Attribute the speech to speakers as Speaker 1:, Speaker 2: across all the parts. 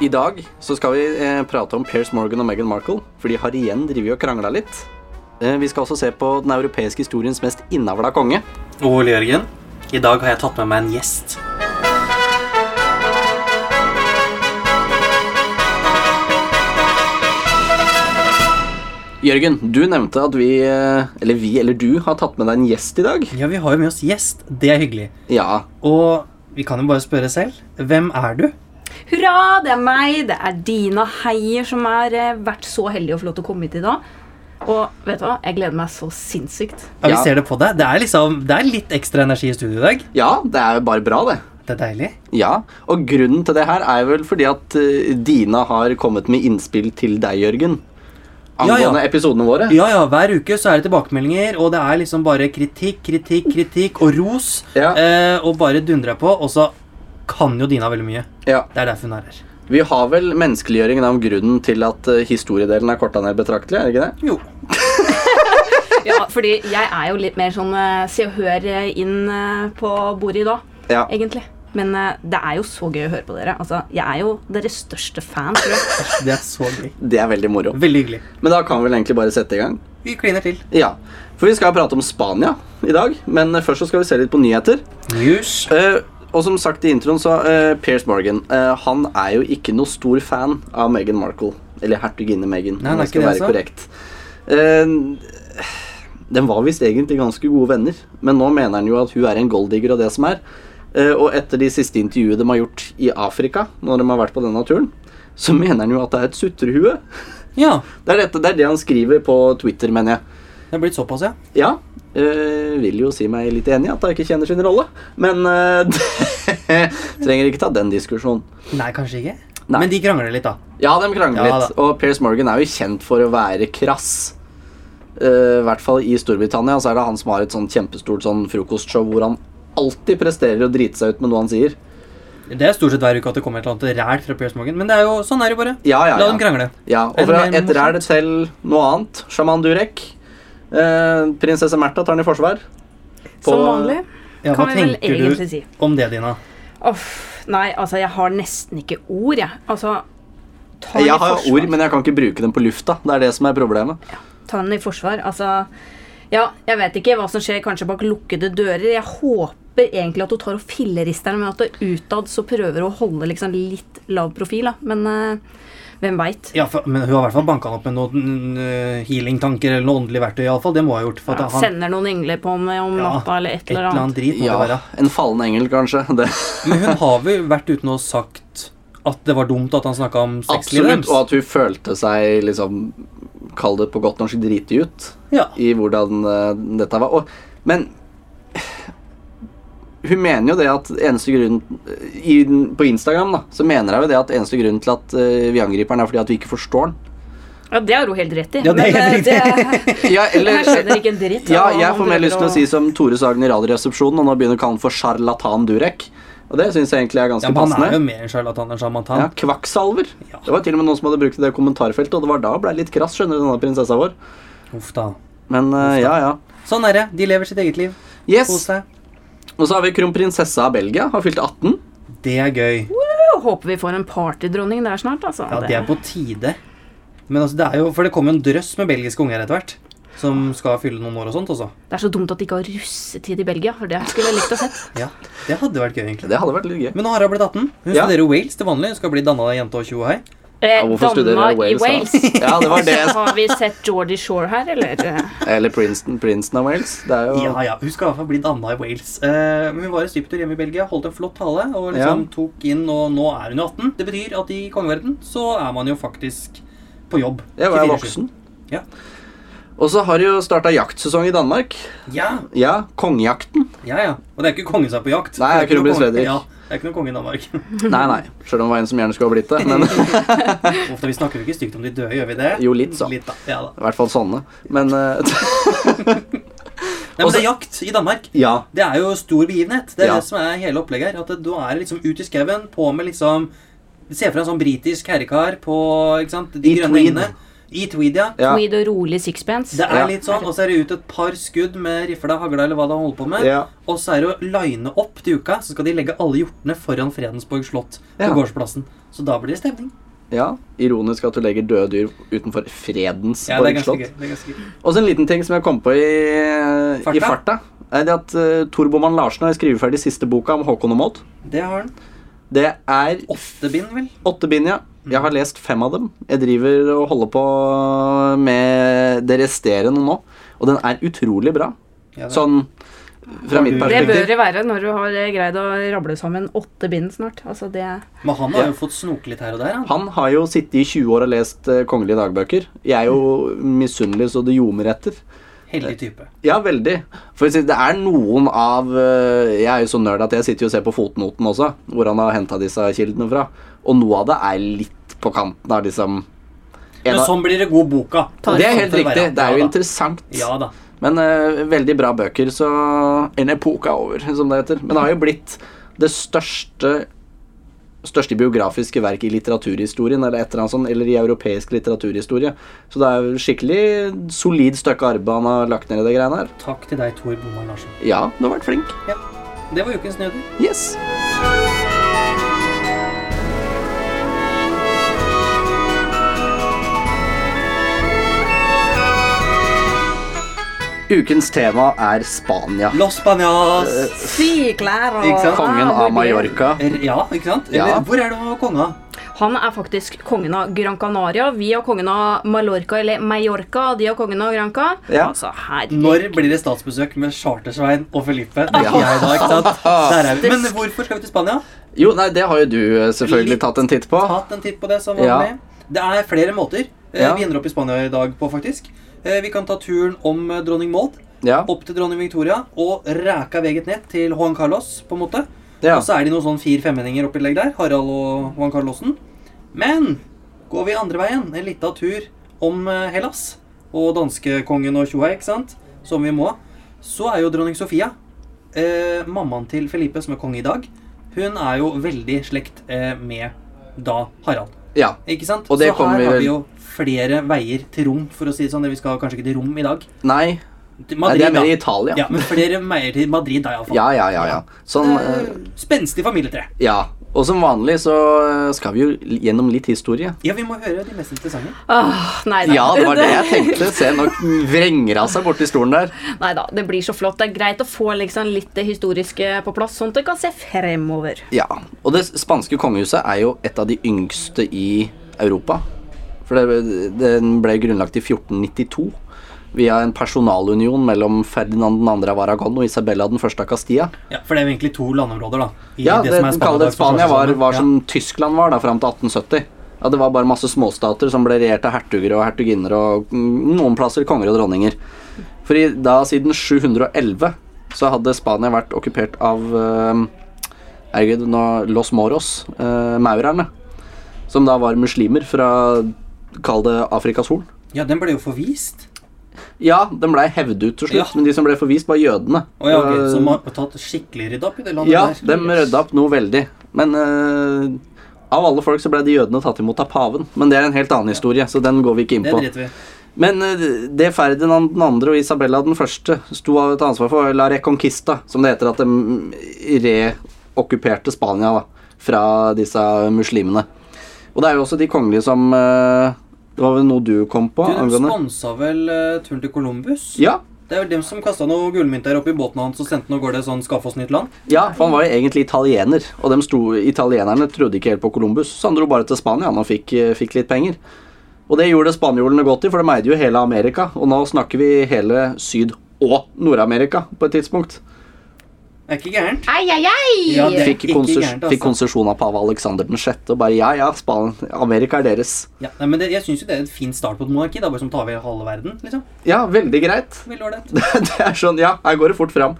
Speaker 1: I dag så skal vi eh, prate om Piers Morgan og Meghan Markle, for de har igjen drevet og krangla litt. Eh, vi skal også se på den europeiske historiens mest innavla konge.
Speaker 2: Og Ole Jørgen, i dag har jeg tatt med meg en gjest.
Speaker 1: Jørgen, du nevnte at vi, eh, eller vi eller du, har tatt med deg en gjest i dag.
Speaker 2: Ja, vi har jo med oss gjest. Det er hyggelig.
Speaker 1: Ja,
Speaker 2: Og vi kan jo bare spørre selv. Hvem er du?
Speaker 3: Hurra, det er meg! Det er Dina Heier som har eh, vært så heldig å få lov til å komme hit i dag. Og vet du hva, jeg gleder meg så sinnssykt.
Speaker 2: Ja, vi
Speaker 1: Ja.
Speaker 2: ser det på deg. Det er liksom, det er litt ekstra energi i studio i dag.
Speaker 1: ja det er jo bare bra, det.
Speaker 2: Det er deilig.
Speaker 1: Ja, og grunnen til det her er vel fordi at eh, Dina har kommet med innspill til deg, Jørgen.
Speaker 2: Ja, ja.
Speaker 1: Angående episodene våre.
Speaker 2: Ja, ja, hver uke så er det tilbakemeldinger, og det er liksom bare kritikk, kritikk, kritikk og ros.
Speaker 1: Ja.
Speaker 2: Eh, og bare dundre på, og så kan jo Dina veldig mye.
Speaker 1: Ja.
Speaker 2: Det er derfor hun er her.
Speaker 1: Vi har vel menneskeliggjøringen av grunnen til at eh, historiedelen er korta ned betraktelig, er det ikke det?
Speaker 2: Jo.
Speaker 3: Ja, fordi jeg er jo litt mer sånn eh, se og hør eh, inn eh, på bordet i dag,
Speaker 1: Ja.
Speaker 3: egentlig. Men eh, det er jo så gøy å høre på dere. Altså, jeg er jo deres største fan, tror jeg.
Speaker 2: Det er så gøy.
Speaker 1: Det er veldig moro.
Speaker 2: Veldig hyggelig.
Speaker 1: Men da kan vi vel egentlig bare sette i gang.
Speaker 2: Vi kliner til.
Speaker 1: Ja, For vi skal prate om Spania i dag, men eh, først så skal vi se litt på nyheter.
Speaker 2: News.
Speaker 1: Eh, og som sagt i introen, så uh, Pierce Morgan eh, han er jo ikke noe stor fan av Meghan Markle. Eller hertuginne Meghan.
Speaker 2: Nei, han
Speaker 1: om
Speaker 2: er
Speaker 1: jeg skal
Speaker 2: ikke det,
Speaker 1: være
Speaker 2: altså.
Speaker 1: korrekt. Eh, den var visst egentlig ganske gode venner, men nå mener han jo at hun er en golddigger og det som er. Eh, og etter de siste intervjuene de har gjort i Afrika, når de har vært på denne turen, så mener han jo at det er et sutrehue.
Speaker 2: Ja.
Speaker 1: Det er, dette, det er det han skriver på Twitter, mener jeg.
Speaker 2: Det er blitt såpass, ja.
Speaker 1: Ja. øh, vil jo si meg litt enig i at jeg ikke kjenner sin rolle, men øh, trenger ikke ta den diskusjonen.
Speaker 2: Nei, kanskje ikke.
Speaker 1: Nei.
Speaker 2: Men de krangler litt, da.
Speaker 1: Ja, de krangler
Speaker 2: Ja,
Speaker 1: litt, og Piers Morgan er jo kjent for å være krass. Eh, I hvert fall i Storbritannia så er det han som har et sånn kjempestort sånn frokostshow hvor han alltid presterer å drite seg ut med noe han sier.
Speaker 2: Det er stort sett hver uke at det kommer et eller annet ræl fra Piers Morgan. Men det er jo, sånn er det jo bare.
Speaker 1: Ja, ja,
Speaker 2: La
Speaker 1: ja.
Speaker 2: dem krangle.
Speaker 1: Ja,
Speaker 2: Er
Speaker 1: Og
Speaker 2: det
Speaker 1: fra
Speaker 2: mer
Speaker 1: et ræl til noe annet. Sjaman Durek. Eh, prinsesse Märtha tar han i forsvar. På-
Speaker 3: Som vanlig.
Speaker 2: Ja, hva
Speaker 3: Kan vi vel
Speaker 2: tenker du
Speaker 3: egentlig si.
Speaker 2: om det, Dina?
Speaker 3: Uff, nei, altså, jeg har nesten ikke ord, jeg. Altså, ta den i
Speaker 1: Jeg har
Speaker 3: forsvar.
Speaker 1: ord, men jeg kan ikke bruke dem på lufta. Det er det som er problemet.
Speaker 3: ta den i forsvar. Altså, ja, jeg vet ikke hva som skjer kanskje bak lukkede dører. Jeg håper egentlig at hun tar og filleristeren med at hun utad så prøver å holde liksom litt lav profil, da. Men eh, hvem veit?
Speaker 2: Ja, for, men Hun har i hvert fall banka han opp med noen eh, healingtanker eller noe åndelig verktøy. I alle fall. Det må hun ha gjort. For at han,
Speaker 3: sender noen engler på meg om
Speaker 2: Ja,
Speaker 3: natta eller et eller annet.
Speaker 2: drit må det
Speaker 1: Ja,
Speaker 2: være.
Speaker 1: en fallen engel, kanskje. Det.
Speaker 2: Men hun har vel vært uten å ha sagt at det var dumt at han snakka om sexlivet
Speaker 1: Absolutt.
Speaker 2: deres?
Speaker 1: Og at hun følte seg liksom Kall det på godt norsk driti ut
Speaker 2: Ja.
Speaker 1: i hvordan eh, dette var. Og, men hun mener jo det at eneste grunn i, På Instagram da, så mener hun jo det at eneste grunnen til at eh, vi angriper den, er fordi at vi ikke forstår den.
Speaker 3: Ja, det har hun helt rett i.
Speaker 2: Ja, det er
Speaker 3: Men,
Speaker 2: helt
Speaker 3: eh, det-
Speaker 1: Ja,
Speaker 3: jeg skjønner ikke en dritt.
Speaker 1: Ja,
Speaker 3: av hva
Speaker 1: jeg
Speaker 3: han
Speaker 1: får mer
Speaker 3: prøver
Speaker 1: lyst til å si som Tore Sagen i Radioresepsjonen, og nå begynner å kalle han for sjarlatan Durek. Og det syns jeg egentlig er
Speaker 2: ja,
Speaker 1: ganske
Speaker 2: men Han
Speaker 1: passende.
Speaker 2: er jo mer en sjarlatan enn sjarmatan.
Speaker 1: Ja, Kvakksalver.
Speaker 2: Ja.
Speaker 1: Det var til og med noen som hadde brukt det i kommentarfeltet, og det var da jeg ble litt krass, skjønner du, denne prinsessa vår.
Speaker 2: Uff da.
Speaker 1: Men eh, ja, ja.
Speaker 2: Sånn er det. De lever sitt eget liv. Kos
Speaker 1: Yes.
Speaker 2: deg.
Speaker 1: Og så har vi kronprinsessa av Belgia, har fylt 18.
Speaker 2: Det er gøy.
Speaker 3: Jeg håper vi får en partydronning der snart, altså.
Speaker 2: Ja, det er på tide. Men altså, det er jo, for det kommer jo en drøss med belgiske unger etter hvert. Som skal fylle noen år og sånt også.
Speaker 3: det er så dumt at de ikke har russetid i Belgia, for det skulle jeg likt å sett.
Speaker 2: Ja, Det hadde vært gøy, egentlig.
Speaker 1: Det hadde vært litt gøy.
Speaker 2: Men nå har hun blitt 18. Hun
Speaker 1: Ja.
Speaker 2: studerer i Wales til vanlig. Hun skal bli danna jente og 20 her.
Speaker 3: Eh,
Speaker 1: Ja, hvorfor studerer
Speaker 3: Danmark
Speaker 1: jeg
Speaker 3: i
Speaker 1: Wales,
Speaker 3: Wales.
Speaker 1: da? Ja, det var det.
Speaker 3: Så Har vi sett Geordie Shore her, eller?
Speaker 1: Eller Princeton, Princeton av Wales. Det er jo
Speaker 2: Ja, ja, Hun skal i hvert fall bli danna i Wales. Eh, men hun var i stuptur hjemme i Belgia, holdt en flott tale og liksom
Speaker 1: Ja.
Speaker 2: tok inn, og nå er hun jo 18. Det betyr at i kongeverden så er man jo faktisk på jobb.
Speaker 1: Jeg var
Speaker 2: 24/7.
Speaker 1: voksen.
Speaker 2: Ja.
Speaker 1: Og så har de jo starta jaktsesong i Danmark.
Speaker 2: Ja,
Speaker 1: Ja, kongejakten.
Speaker 2: ja, ja. Og det er ikke kongen som er på jakt.
Speaker 1: Nei,
Speaker 2: Det er ikke noe
Speaker 1: kronprins
Speaker 2: konge-
Speaker 1: Fredrik.
Speaker 2: Ja, det er ikke noen konge i Danmark.
Speaker 1: Nei, nei. Sjøl om det var en som gjerne skulle ha blitt det. Men i
Speaker 2: Ofte vi snakker jo ikke stygt om de døde, gjør vi det?
Speaker 1: Jo, litt så.
Speaker 2: Litt da. Ja, da.
Speaker 1: hvert fall sånne. Men eh,
Speaker 2: Nei, men det er jakt i Danmark.
Speaker 1: ja.
Speaker 2: Det er jo stor begivenhet. Det er
Speaker 1: Ja.
Speaker 2: det som er hele opplegget her. At det- da er det liksom ut i skauen, på med liksom Se for deg en sånn britisk herrekar på ikke sant, de
Speaker 1: I
Speaker 2: grønne
Speaker 1: tweed.
Speaker 2: engene. I tweed, ja.
Speaker 1: Ja.
Speaker 3: Tweed og rolig sixpence.
Speaker 2: Det er
Speaker 1: Ja.
Speaker 2: litt sånn, og så er det ut et par skudd med rifla, hagla eller hva det holder på med.
Speaker 1: Ja.
Speaker 2: Og så er det å line opp til uka, så skal de legge alle hjortene foran Fredensborg slott på
Speaker 1: Ja.
Speaker 2: gårdsplassen. Så da blir det stemning.
Speaker 1: Ja, Ironisk at du legger døde dyr utenfor fredens
Speaker 2: Ja, det er
Speaker 1: borgslott.
Speaker 2: ganske gøy. Det er ganske gøy.
Speaker 1: Og så en liten ting som jeg kom på i farta,
Speaker 2: Farta?
Speaker 1: i farta er det at eh, Torboman Larsen har skrevet ferdig siste boka om Håkon og Maud.
Speaker 2: Det har den.
Speaker 1: Det er
Speaker 2: Åtte bind, vel?
Speaker 1: åtte bind, ja. Jeg har lest fem av dem. Jeg driver og holder på med det resterende nå, og den er utrolig bra.
Speaker 2: Ja, det-
Speaker 1: Sånn fra mitt
Speaker 2: Det
Speaker 3: Det bør
Speaker 1: perspektiv.
Speaker 3: det være når du har eh, greid å rable sammen åtte bind snart. Altså det
Speaker 2: Men han har jo fått snoke litt her og der. Han.
Speaker 1: Han har jo sittet i 20 år og lest eh, kongelige dagbøker. Jeg er jo misunnelig så det ljomer etter.
Speaker 2: Heldig type.
Speaker 1: Ja, veldig. For å si, det er noen av eh, Jeg er jo så nerd at jeg sitter jo og ser på fotnoten også, hvor han har henta disse kildene fra. Og noe av det er litt på kanten av liksom en
Speaker 2: Men
Speaker 1: av-
Speaker 2: sånn blir det god boka.
Speaker 1: Det er helt riktig. Det er jo
Speaker 2: ja, da.
Speaker 1: interessant.
Speaker 2: Ja da.
Speaker 1: Men eh, veldig bra bøker, så En epoke er over, som det heter. Men det har jo blitt det største Største biografiske verk i litteraturhistorien, eller et eller annet sånt, eller i europeisk litteraturhistorie. Så det er jo skikkelig solid stykke arbeid han har lagt ned i det greiene her.
Speaker 2: Takk til deg, Tor Bomar Larsen.
Speaker 1: Ja, du har vært flink.
Speaker 2: Ja. Det var ukens nøden.
Speaker 1: Yes. Ukens tema er Spania.
Speaker 2: Los
Speaker 1: Eh,
Speaker 2: Spanias!
Speaker 3: Syklær og
Speaker 2: Ikke sant?
Speaker 1: Kongen
Speaker 3: Ah, hvor
Speaker 1: av
Speaker 3: blir-
Speaker 1: Mallorca.
Speaker 2: Er- Ja, ikke sant?
Speaker 1: Ja.
Speaker 2: Eller hvor er det med konga?
Speaker 3: Han er faktisk kongen av Gran Canaria. Vi har kongen av Mallorca, eller Mallorca, og de har kongen av Granca.
Speaker 1: Ja.
Speaker 3: Altså, herregud.
Speaker 2: Når blir det statsbesøk med Chartersvein og Felipe? Det
Speaker 1: Ja.
Speaker 2: er jeg da, ikke sant? Der er vi. Men hvorfor skal vi til Spania?
Speaker 1: Jo, nei, det har jo du eh, selvfølgelig
Speaker 2: Litt
Speaker 1: tatt en titt på.
Speaker 2: Tatt en titt på det som
Speaker 1: Ja.
Speaker 2: vanlig. Det er flere måter eh,
Speaker 1: Ja.
Speaker 2: vi ender opp i Spania i dag på, faktisk. Eh, Vi kan ta turen om eh, dronning Maud,
Speaker 1: Ja.
Speaker 2: opp til dronning Victoria og ræka veget ned til Juan Carlos, på en måte.
Speaker 1: ja.
Speaker 2: Og så er de noen sånn fire-femmendinger oppi legg der. Harald og Juan Carlosen. Men går vi andre veien, en liten tur om eh, Hellas og danskekongen og tjoa, ikke sant? Som vi må. Så er jo dronning Sofia, eh, mammaen til Felipe, som er konge i dag, hun er jo veldig slekt eh, med da Harald.
Speaker 1: ja.
Speaker 2: Ikke sant?
Speaker 1: Og det
Speaker 2: så
Speaker 1: kommer
Speaker 2: her
Speaker 1: vi
Speaker 2: har
Speaker 1: vel-
Speaker 2: vi jo flere veier til rom, for å si det sånn. Vi skal kanskje ikke til rom i dag.
Speaker 1: Nei,
Speaker 2: Til
Speaker 1: nei, det er mer i
Speaker 2: da.
Speaker 1: Italia.
Speaker 2: Ja, men flere veier til Madrid da, iallfall.
Speaker 1: Ja, ja, ja. ja. Sånn eh,
Speaker 2: Spenstig familietre.
Speaker 1: Ja. Og som vanlig så eh, skal vi jo gjennom litt historie.
Speaker 2: Ja, vi må høre de mest interessante.
Speaker 3: Åh, Ah, nei da.
Speaker 1: Ja, det var det jeg tenkte. Se, nå vrenger hun seg borti stolen der.
Speaker 3: Nei da, det blir så flott. Det er greit å få liksom litt det historiske på plass, sånn at du kan se fremover.
Speaker 1: Ja, og det spanske kongehuset er jo et av de yngste i Europa. For det, den ble grunnlagt i 1492 via en personalunion mellom Ferdinand 2. av Aragon og Isabella 1. av Castilla.
Speaker 2: Ja, For det er jo egentlig to landområder, da. i
Speaker 1: Ja, det,
Speaker 2: som er
Speaker 1: kall det
Speaker 2: Spania-
Speaker 1: Spania var, var
Speaker 2: Ja.
Speaker 1: som Tyskland var da, fram til 1870. Ja, Det var bare masse småstater som ble regjert av hertuger og hertuginner og mm, noen plasser konger og dronninger. For i, da siden 711 så hadde Spania vært okkupert av eh, herregud, nå, Los Moros, eh, maurerne. Som da var muslimer fra Kall det Afrikas Horn.
Speaker 2: Ja, den ble jo forvist.
Speaker 1: Ja, den blei hevdet ut til slutt,
Speaker 2: Ja.
Speaker 1: men de som ble forvist, var jødene.
Speaker 2: Og ja, ok,
Speaker 1: Det var-
Speaker 2: Så man har tatt skikkelig rydd opp i det landet
Speaker 1: Øh, Ja, de
Speaker 2: der.
Speaker 1: rydda opp noe veldig. Men eh, av alle folk så ble de jødene tatt imot av paven. Men det er en helt annen historie, så den går vi ikke inn
Speaker 2: Det
Speaker 1: på.
Speaker 2: driter vi i.
Speaker 1: Men eh, det Ferdinand 2. og Isabella den første sto av et ansvar for, var La Reconquista, som det heter at de reokkuperte Spania da, fra disse muslimene. Og det er jo også de kongelige som eh, Det var vel noe du kom på?
Speaker 2: Du, De
Speaker 1: angående?
Speaker 2: sponsa vel eh, turen til Columbus?
Speaker 1: Ja,
Speaker 2: Det er jo dem som kasta noe gullmynt der oppe i båten hans og sendte den av gårde sånn 'skaff oss nytt land'.
Speaker 1: ja, for han var jo egentlig italiener, og dem sto, italienerne trodde ikke helt på Columbus, så han dro bare til Spania han, og fikk, eh, fikk litt penger. Og det gjorde spanjolene godt i, for de eide jo hele Amerika, og nå snakker vi hele Syd- og Nord-Amerika på et tidspunkt.
Speaker 2: Er ikke gærent?
Speaker 3: Ai, ai, ai!
Speaker 2: Ja, det- er
Speaker 1: Fikk,
Speaker 2: ikke
Speaker 1: konses
Speaker 2: gærent, altså.
Speaker 1: fikk konsesjon av pave Alexander den sjette, og bare ja, ja, Span Amerika er deres.
Speaker 2: Ja, nei, men det, Jeg syns jo det er en fin start på et monarki. da, Bare som tar over halve verden. liksom.
Speaker 1: Ja, veldig greit.
Speaker 2: Veldig ålreit.
Speaker 1: Det, det er sånn, ja, her går det fort fram.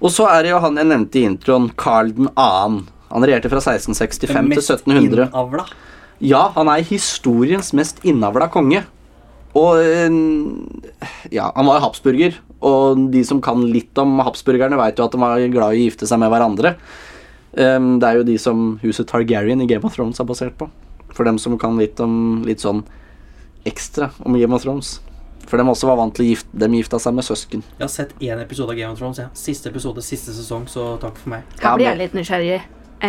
Speaker 1: Og så er det jo han jeg nevnte i introen, Carl 2. Han regjerte fra 1665 til 1700.
Speaker 2: innavla.
Speaker 1: Ja, han er historiens mest innavla konge. Og eh, ja, han var habsburger, og de som kan litt om habsburgerne, veit jo at de var glad i å gifte seg med hverandre. Ehm, det er jo de som huset Targaryen i Game of Thrones er basert på. For dem som kan litt om litt sånn ekstra om Game of Thrones. For de også var vant til å gifte Dem gifta seg med søsken.
Speaker 2: Jeg har sett én episode av Game of Thrones. Ja. Siste episode, siste sesong, så takk for meg.
Speaker 1: Ja,
Speaker 3: Her blir
Speaker 1: men-
Speaker 3: jeg litt nysgjerrig. Eh,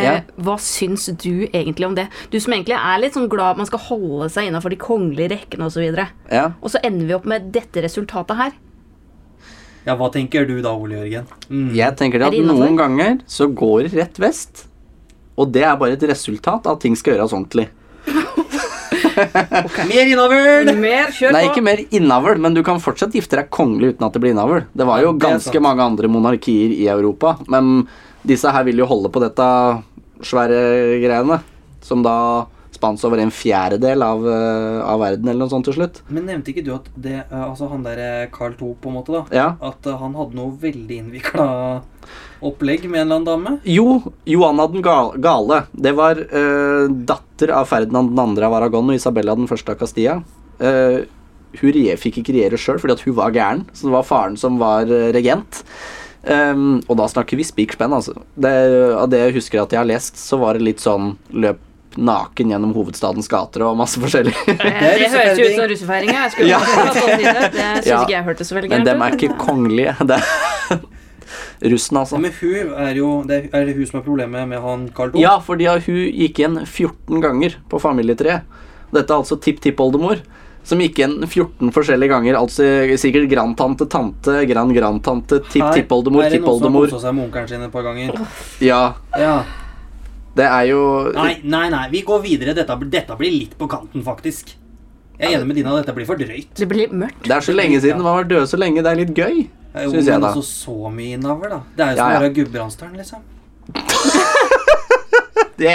Speaker 1: Ja.
Speaker 3: Hva syns du egentlig om det? Du som egentlig er litt sånn glad man skal holde seg innafor de kongelige rekkene osv. Og,
Speaker 1: Ja.
Speaker 3: og så ender vi opp med dette resultatet her.
Speaker 2: Ja, hva tenker du da, Ole Jørgen? Mm.
Speaker 1: Jeg tenker det
Speaker 3: Er
Speaker 1: at
Speaker 3: det innenfor?
Speaker 1: noen ganger så går det rett vest. Og det er bare et resultat av at ting skal gjøres ordentlig.
Speaker 2: Mer innavl!
Speaker 3: Mer, kjør
Speaker 1: Nei, ikke mer innavl, men du kan fortsatt gifte deg kongelig uten at det blir innavl. Det var
Speaker 2: Ja,
Speaker 1: jo
Speaker 2: det er sant.
Speaker 1: ganske mange andre monarkier i Europa, men disse her vil jo holde på dette svære greiene, som da spant over en fjerdedel av, eh, av verden eller noe sånt til slutt.
Speaker 2: Men nevnte ikke du at det, eh, altså han der eh, Carl 2 på en måte, da?
Speaker 1: Ja.
Speaker 2: At eh, han hadde noe veldig innvikla opplegg med en eller annen dame?
Speaker 1: Jo, Johanna den ga- gale. Det var eh, datter av Ferdinand den andre av Aragon og Isabella den første av Castilla. Eh, hun re fikk ikke regjere sjøl fordi at hun var gæren, så det var faren som var eh, regent. Ehm, og da snakker vi spikspenn, altså. Det, av det jeg husker at jeg har lest, så var det litt sånn løp naken gjennom hovedstadens gater og masse forskjellig.
Speaker 3: Eh, Det,
Speaker 2: Det er
Speaker 3: høres jo ut
Speaker 2: russefeiring.
Speaker 3: som russefeiring. jeg. Jeg skulle
Speaker 1: Ja.
Speaker 3: akkurat sånn si Det, det syns
Speaker 1: Ja.
Speaker 3: ikke jeg hørtes så veldig
Speaker 1: Men
Speaker 3: gærent
Speaker 1: dem er ikke kongelige. Det er russen, altså.
Speaker 2: Ja, men hun er jo Det er- er det hun som er problemet med han Carl 2?
Speaker 1: Ja, fordi hun gikk igjen 14 ganger på familietreet. Dette er altså tipptippoldemor, som gikk igjen 14 forskjellige ganger. Altså sikkert grandtante, tante, grand-grandtante, tipptippoldemor,
Speaker 2: Er det noen som har
Speaker 1: tippoldemor.
Speaker 2: kosa seg med onkelen sin et par ganger?
Speaker 1: Ja,
Speaker 2: Ja.
Speaker 1: det er jo
Speaker 2: Nei, nei, nei, vi går videre. Dette, dette blir litt på kanten, faktisk. Jeg er enig med Dina, dette blir for drøyt.
Speaker 3: Det blir litt mørkt.
Speaker 1: Det er så lenge siden. De har vært døde så lenge. Det er litt gøy,
Speaker 2: Eh,
Speaker 1: syns
Speaker 2: men
Speaker 1: jeg, da.
Speaker 2: altså, så mye innavl, da. Det er
Speaker 1: Ja,
Speaker 2: jo som å
Speaker 1: ja.
Speaker 2: være Gudbrandsdalen, liksom.
Speaker 1: Det,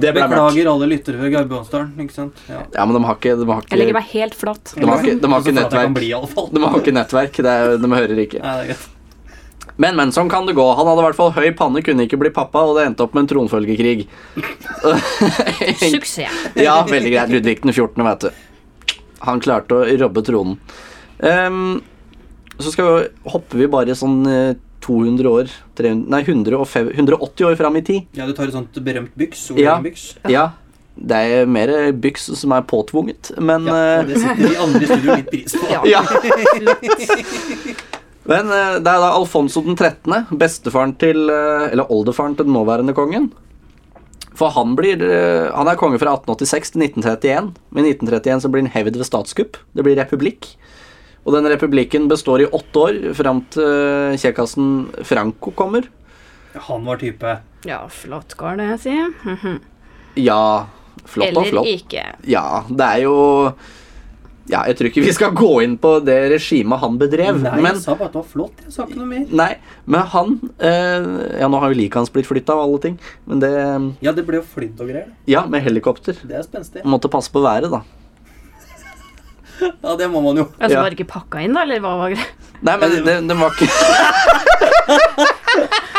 Speaker 1: det ble mørkt.
Speaker 2: Beklager alle lyttere fra Gudbrandsdalen, ikke sant. Ja.
Speaker 1: Ja, men de har ikke De har
Speaker 3: Jeg legger
Speaker 1: ikke,
Speaker 3: meg helt flat.
Speaker 1: de har ikke, de har ikke
Speaker 2: Så flott jeg kan
Speaker 1: nettverk.
Speaker 2: bli, i alle fall.
Speaker 1: De har ikke nettverk. Det er, de hører ikke.
Speaker 2: Nei, det er greit.
Speaker 1: Men, men, sånn kan det gå. Han hadde i hvert fall høy panne, kunne ikke bli pappa, og det endte opp med en tronfølgekrig.
Speaker 3: Suksess.
Speaker 1: ja, veldig greit. Ludvig den 14., vet du. Han klarte å robbe tronen. Ehm, så skal vi, hopper vi bare sånn eh, 200 år 300, Nei, 105, 180 år fram i tid.
Speaker 2: Ja, du tar et sånt berømt byks.
Speaker 1: Ja.
Speaker 2: Byks.
Speaker 1: Ja. Det er mer byks som er påtvunget, men
Speaker 2: Ja,
Speaker 1: eh,
Speaker 2: og det setter de andre i studio litt pris på.
Speaker 3: Ja.
Speaker 1: Ja. Men eh, det er da Alfonso den 13., bestefaren til eh, Eller oldefaren til den nåværende kongen. For han blir eh, Han er konge fra 1886 til 1931. Men i 1931 så blir han hevd ved statskupp. Det blir republikk. Og den republikken består i åtte år, fram til kjekkasen Franco kommer.
Speaker 2: Han var type
Speaker 3: Ja, flott går det, jeg sier. Mhm.
Speaker 1: Ja, flott og
Speaker 3: Eller
Speaker 1: flott.
Speaker 3: ikke.
Speaker 1: Ja, det er jo Ja, jeg tror ikke vi skal gå inn på det regimet han bedrev,
Speaker 2: Nei,
Speaker 1: men
Speaker 2: jeg sa bare at det var flott. Jeg sa ikke noe mer.
Speaker 1: Nei, men han eh, Ja, nå har jo liket hans blitt flytta av alle ting. Men det
Speaker 2: Ja, det ble jo flydd og greier.
Speaker 1: Ja, med helikopter.
Speaker 2: Det er spenstig.
Speaker 1: Måtte passe på været, da.
Speaker 2: Ja, det må man jo.
Speaker 3: Altså
Speaker 1: Ja.
Speaker 3: var det ikke pakka inn, da? Eller hva var greia?
Speaker 1: Nei, men det, det var ikke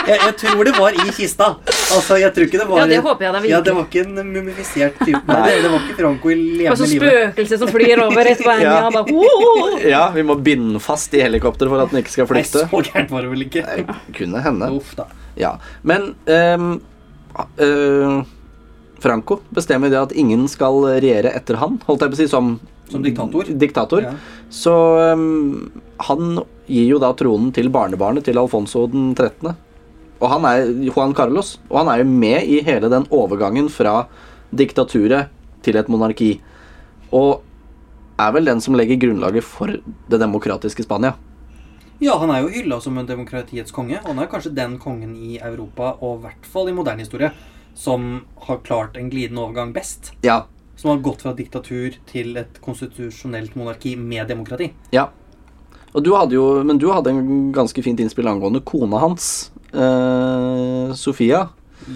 Speaker 2: Jeg, jeg tror det var i kista. Altså, jeg tror ikke det var
Speaker 3: Ja, det håper jeg da virkelig.
Speaker 2: Ja, det var ikke en mumifisert type. Nei, det, det var ikke Franco i
Speaker 3: Og så
Speaker 2: levende live.
Speaker 3: spøkelset Altså, som flyr over rett på
Speaker 1: Ja.
Speaker 3: Anja. Ja.
Speaker 1: Ja, vi må binde den fast i helikopter for at den ikke skal
Speaker 2: Nei,
Speaker 1: flykte.
Speaker 2: så gærent var det vel ikke.
Speaker 1: Kunne hende.
Speaker 2: Uff da.
Speaker 1: Ja. Men ehm, eh, Franco bestemmer det at ingen skal regjere etter han, holdt jeg på å si, som
Speaker 2: Som diktator.
Speaker 1: diktator.
Speaker 2: Ja.
Speaker 1: Så ehm, han gir jo da tronen til barnebarnet til Alfonso den 13. Og han er Juan Carlos, og han er jo med i hele den overgangen fra diktaturet til et monarki. Og er vel den som legger grunnlaget for det demokratiske Spania.
Speaker 2: Ja, han er jo hylla som en demokratiets konge. og Han er kanskje den kongen i Europa, og i hvert fall i moderne historie, som har klart en glidende overgang best.
Speaker 1: Ja.
Speaker 2: Som har gått fra diktatur til et konstitusjonelt monarki med demokrati.
Speaker 1: ja. Og du hadde jo, men du hadde en ganske fint innspill angående kona hans, eh, Sofia.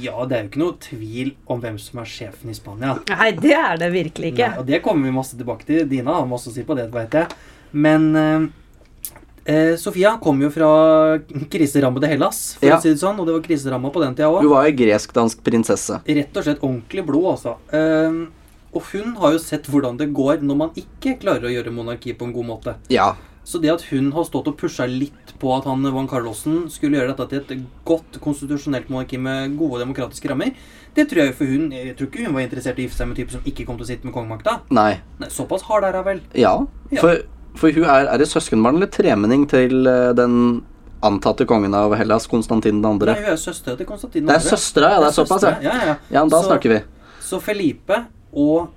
Speaker 2: Ja, det er jo ikke noe tvil om hvem som er sjefen i Spania.
Speaker 3: Nei, det er det virkelig ikke.
Speaker 2: Nei, og det kommer vi masse tilbake til. Dina har masse å si på det, vet jeg. Men eh, eh, Sofia kom jo fra kriserammede Hellas, for
Speaker 1: Ja.
Speaker 2: å si det sånn. Og det var kriseramma på den tida
Speaker 1: Hun
Speaker 2: òg.
Speaker 1: var jo gresk-dansk prinsesse.
Speaker 2: Rett og slett ordentlig blod, altså. Eh, og hun har jo sett hvordan det går når man ikke klarer å gjøre monarki på en god måte.
Speaker 1: Ja.
Speaker 2: Så det at hun har stått og pusha litt på at han Juan Carlosen skulle gjøre dette til et godt konstitusjonelt monarki med gode demokratiske rammer, det tror jeg jo for hun Jeg tror ikke hun var interessert i å gifte seg med en type som ikke kom til å sitte med kongemakta.
Speaker 1: Nei.
Speaker 2: Nei, såpass hard er hun vel.
Speaker 1: Ja.
Speaker 2: Ja.
Speaker 1: For, for hun er, er det søskenbarn eller tremenning til eh, den antatte kongen av Hellas, Konstantin 2.?
Speaker 2: Nei, hun er søstera til Konstantin.
Speaker 1: Det er søstera, ja. Det er såpass, ja.
Speaker 2: ja. ja, ja.
Speaker 1: Ja, da
Speaker 2: Så-
Speaker 1: snakker vi.
Speaker 2: Så Felipe og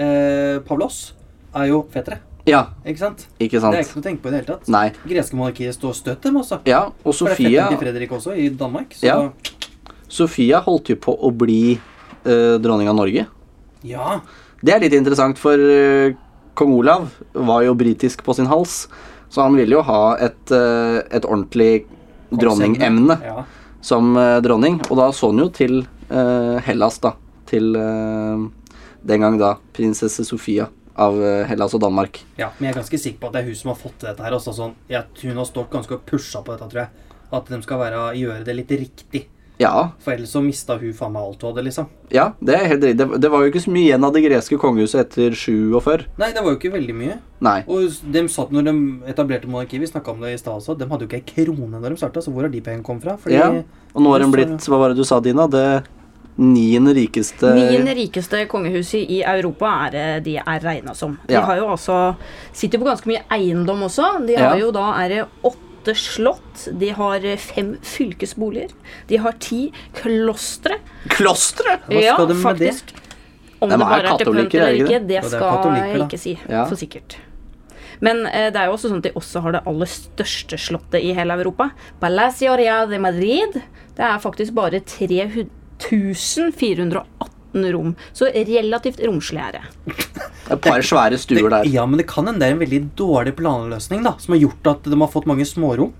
Speaker 2: eh, Pavlos er jo fettere,
Speaker 1: Ja,
Speaker 2: ikke sant?
Speaker 1: ikke
Speaker 2: Det er
Speaker 1: sant.
Speaker 2: ikke noe å tenke på i det hele tatt.
Speaker 1: Nei.
Speaker 2: Greske monarkiet står støtt dem, altså.
Speaker 1: Ja, og
Speaker 2: For det er
Speaker 1: Sofia,
Speaker 2: fetteren til Fredrik også, i Danmark. Så
Speaker 1: Ja. Sofia holdt jo på å bli eh, dronning av Norge.
Speaker 2: ja.
Speaker 1: Det er litt interessant, for eh, kong Olav var jo britisk på sin hals, så han ville jo ha et, eh, et ordentlig dronningemne
Speaker 2: Ja.
Speaker 1: som eh, dronning, og da så han jo til eh, Hellas, da. Til eh, den gang da prinsesse Sofia av eh, Hellas og Danmark.
Speaker 2: ja, Men jeg er ganske sikker på at det er hun som har fått til dette her. Altså, sånn, jeg, hun har stått ganske og pusha på dette, tror jeg. At de skal være, gjøre det litt riktig.
Speaker 1: Ja,
Speaker 2: For ellers så mista hun faen meg alt hun hadde, liksom.
Speaker 1: ja, det er helt riktig. Det, det var jo ikke så mye igjen av det greske kongehuset etter 47.
Speaker 2: Nei, det var jo ikke veldig mye.
Speaker 1: Nei.
Speaker 2: Og de satt når de etablerte monarkiet, vi snakket om det i stad også, de hadde jo ikke ei krone da de starta, så hvor har de pengene kommet fra? Fordi
Speaker 1: Ja, og nå har den
Speaker 2: Så-
Speaker 1: blitt, hva var det du sa, Dina? Det niende rikeste
Speaker 3: Niende rikeste kongehuset i Europa er det de er regna som. De
Speaker 1: Ja.
Speaker 3: har jo altså, sitter på ganske mye eiendom også. De
Speaker 1: Ja.
Speaker 3: har jo da er det åtte slott, de har fem fylkesboliger, de har ti klostre.
Speaker 1: Klostre!
Speaker 2: Hva skal de med
Speaker 3: faktisk. Om
Speaker 1: De
Speaker 3: det
Speaker 1: er
Speaker 3: bare er til
Speaker 1: katolikker,
Speaker 3: pynt
Speaker 1: er de
Speaker 3: eller
Speaker 1: ikke
Speaker 3: ikke,
Speaker 1: det?
Speaker 3: det
Speaker 2: Og det er
Speaker 3: skal
Speaker 2: katolikker,
Speaker 3: jeg
Speaker 2: da.
Speaker 3: ikke si
Speaker 1: Ja.
Speaker 3: for sikkert. Men eh, det er jo også sånn at de også har det aller største slottet i hele Europa. Palacio Real de Madrid. Det er faktisk bare 3418 rom. Så relativt romslig er det.
Speaker 1: Et par svære stuer der.
Speaker 2: Ja, men det kan hende det er en veldig dårlig planløsning da, som har gjort at de har fått mange smårom.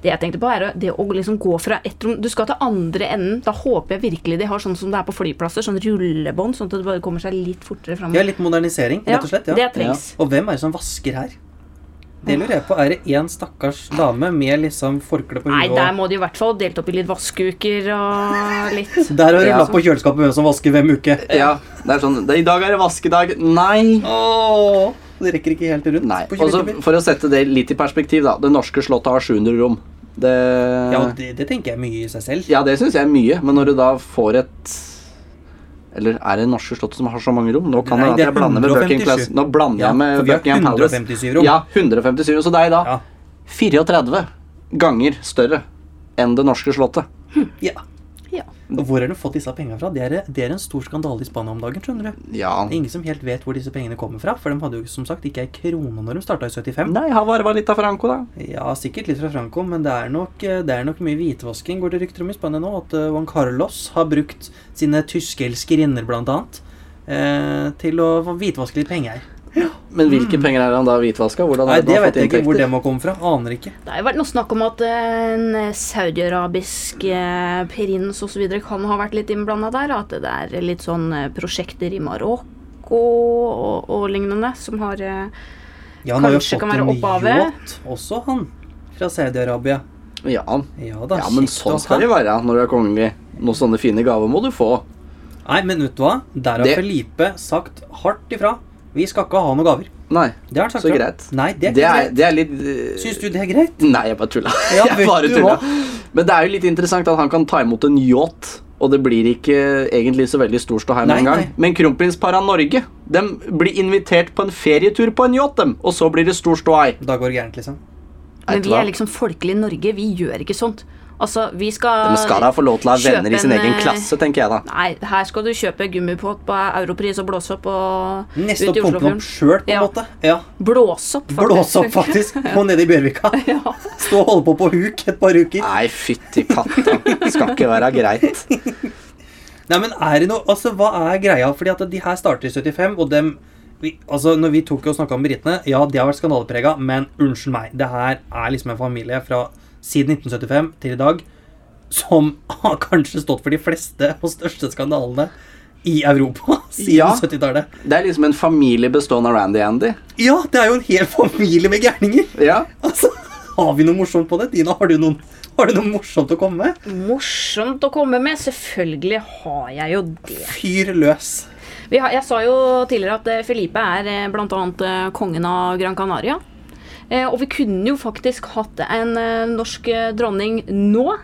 Speaker 3: Det jeg tenkte på er å- det å liksom gå fra ett rom Du skal til andre enden. Da håper jeg virkelig de har sånn som det er på flyplasser, sånn rullebånd, sånn at det bare kommer seg litt fortere fram.
Speaker 2: Ja, litt modernisering, rett og slett. ja.
Speaker 3: Det trengs.
Speaker 2: Og hvem er det som vasker her? Det lurer jeg på. Er det én stakkars dame med liksom forkle på
Speaker 3: Nei,
Speaker 2: huet?
Speaker 3: der
Speaker 2: og-
Speaker 3: må de i hvert fall delt opp i litt vaskeuker og litt
Speaker 2: Der har du
Speaker 1: Ja.
Speaker 2: lapp på kjøleskapet hvem som vasker hvem uke.
Speaker 1: Ja, det er sånn det, I dag er det vaskedag. Nei!
Speaker 2: Åh, det rekker ikke helt rundt.
Speaker 1: Nei.
Speaker 2: på
Speaker 1: Og så
Speaker 2: 20 minutter.
Speaker 1: For å sette det litt i perspektiv, da. Det norske slottet har 700 rom. Det
Speaker 2: ja, og det, det tenker jeg mye i seg selv.
Speaker 1: Ja, det syns jeg er mye, men når du da får et Eller er det norske slottet som har så mange rom? Nå kan
Speaker 2: Nei,
Speaker 1: det
Speaker 2: det
Speaker 1: være at
Speaker 2: er
Speaker 1: jeg blander med Buckingham
Speaker 2: 157.
Speaker 1: Palace. Nå blander
Speaker 2: Ja,
Speaker 1: jeg med
Speaker 2: for vi har
Speaker 1: Buckingham Palace.
Speaker 2: 157 rom.
Speaker 1: Ja, 157 rom. Så det er da
Speaker 2: Ja.
Speaker 1: 34 ganger større enn det norske slottet.
Speaker 2: ja.
Speaker 3: Ja.
Speaker 2: Og hvor har de fått disse pengene fra? Det er, det er en stor skandale i Spania om dagen, skjønner du.
Speaker 1: Ja.
Speaker 2: Det er ingen som helt vet hvor disse pengene kommer fra, for de hadde jo som sagt ikke ei krone når de starta i 75.
Speaker 1: Nei, har varva litt av Franco, da.
Speaker 2: Ja, sikkert litt fra Franco, men det er nok, eh, det er nok mye hvitvasking, går det rykter om i Spania nå, at eh, Juan Carlos har brukt sine tyske elskerinner, blant annet, eh, til å hvitvaske litt penger.
Speaker 1: Men hvilke penger er han da hvitvaska? Hvordan
Speaker 2: Mm. Nei,
Speaker 1: er det
Speaker 2: det
Speaker 1: han har
Speaker 2: vet
Speaker 1: fått
Speaker 2: jeg ikke hvor
Speaker 1: inntekter?
Speaker 2: det må komme fra, aner ikke.
Speaker 3: Det har jo vært noe snakk om at eh, en saudiarabisk eh, prins osv. kan ha vært litt innblanda der. At det er litt sånn eh, prosjekter i Marokko og, og lignende som har eh,
Speaker 2: Ja, han har jo
Speaker 3: Kanskje
Speaker 2: fått
Speaker 3: kan være
Speaker 2: en
Speaker 3: opphavet.
Speaker 2: yacht, også han, fra Saudi-Arabia.
Speaker 1: Ja.
Speaker 2: Ja da, altså.
Speaker 1: ja, men
Speaker 2: kjekt å
Speaker 1: sånn skal
Speaker 2: ha.
Speaker 1: det være når du er kongelig. Noen sånne fine gaver må du få.
Speaker 2: Nei, men vet du hva? Der har
Speaker 1: Det-
Speaker 2: Felipe sagt hardt ifra. Vi skal ikke ha noen gaver.
Speaker 1: Nei,
Speaker 2: Det har han sagt
Speaker 1: så
Speaker 2: fra.
Speaker 1: greit.
Speaker 2: Nei, det er
Speaker 1: det
Speaker 2: ikke
Speaker 1: er,
Speaker 2: greit.
Speaker 1: det er litt eh,
Speaker 2: Syns du det er greit?
Speaker 1: Nei, jeg bare tulla.
Speaker 2: Ja,
Speaker 1: jeg
Speaker 2: vet
Speaker 1: bare
Speaker 2: du
Speaker 1: tulla. Men det er jo litt interessant at han kan ta imot en yacht, og det blir ikke egentlig så veldig stor ståhei med
Speaker 2: Nei,
Speaker 1: en gang.
Speaker 2: nei.
Speaker 1: Men kronprinsparet av Norge dem blir invitert på en ferietur på en yacht, dem, og så blir det stor ståhei.
Speaker 2: Da går det gærent, liksom.
Speaker 3: Men
Speaker 1: Vet du
Speaker 3: vi
Speaker 1: hva?
Speaker 3: er liksom folkelige i Norge. Vi gjør ikke sånt. Altså, vi skal
Speaker 1: Men skal da få lov til å ha
Speaker 3: kjøpe
Speaker 1: venner i sin
Speaker 3: en,
Speaker 1: egen
Speaker 3: eh,
Speaker 1: klasse, tenker jeg da.
Speaker 3: Nei, her skal du kjøpe gummipott på Europris og blåse opp og
Speaker 2: Neste
Speaker 3: ut i
Speaker 2: opp pumpe den opp
Speaker 3: Oslofjorden.
Speaker 2: sjøl, på en
Speaker 3: Ja.
Speaker 2: måte. Ja.
Speaker 3: Blåse opp, faktisk.
Speaker 2: Blåse opp, faktisk. Gå ned i Bjørvika.
Speaker 3: ja.
Speaker 2: Stå og holde på på huk et par uker.
Speaker 1: Nei, fytti katta. Skal ikke være greit.
Speaker 2: Nei, men er det noe Altså, hva er greia? Fordi at de her starter i 75, og dem vi, altså, når vi tok og snakka om britene Ja, de har vært skandaleprega, men unnskyld meg. Det her er liksom en familie fra siden 1975 til i dag som har kanskje stått for de fleste og største skandalene i Europa siden
Speaker 1: Ja.
Speaker 2: 70-tallet.
Speaker 1: Det er liksom en familie bestående av Randy Andy.
Speaker 2: Ja, det er jo en hel familie med gærninger!
Speaker 1: Ja.
Speaker 2: Altså, har vi noe morsomt på det? Dina, har du, noen, har du noe morsomt å komme med?
Speaker 3: Morsomt å komme med. Selvfølgelig har jeg jo det.
Speaker 2: Fyr løs.
Speaker 3: Vi har, jeg sa jo tidligere at eh, Felipe er eh, blant annet eh, kongen av Gran Canaria. Eh, og vi kunne jo faktisk hatt en eh, norsk eh, dronning nå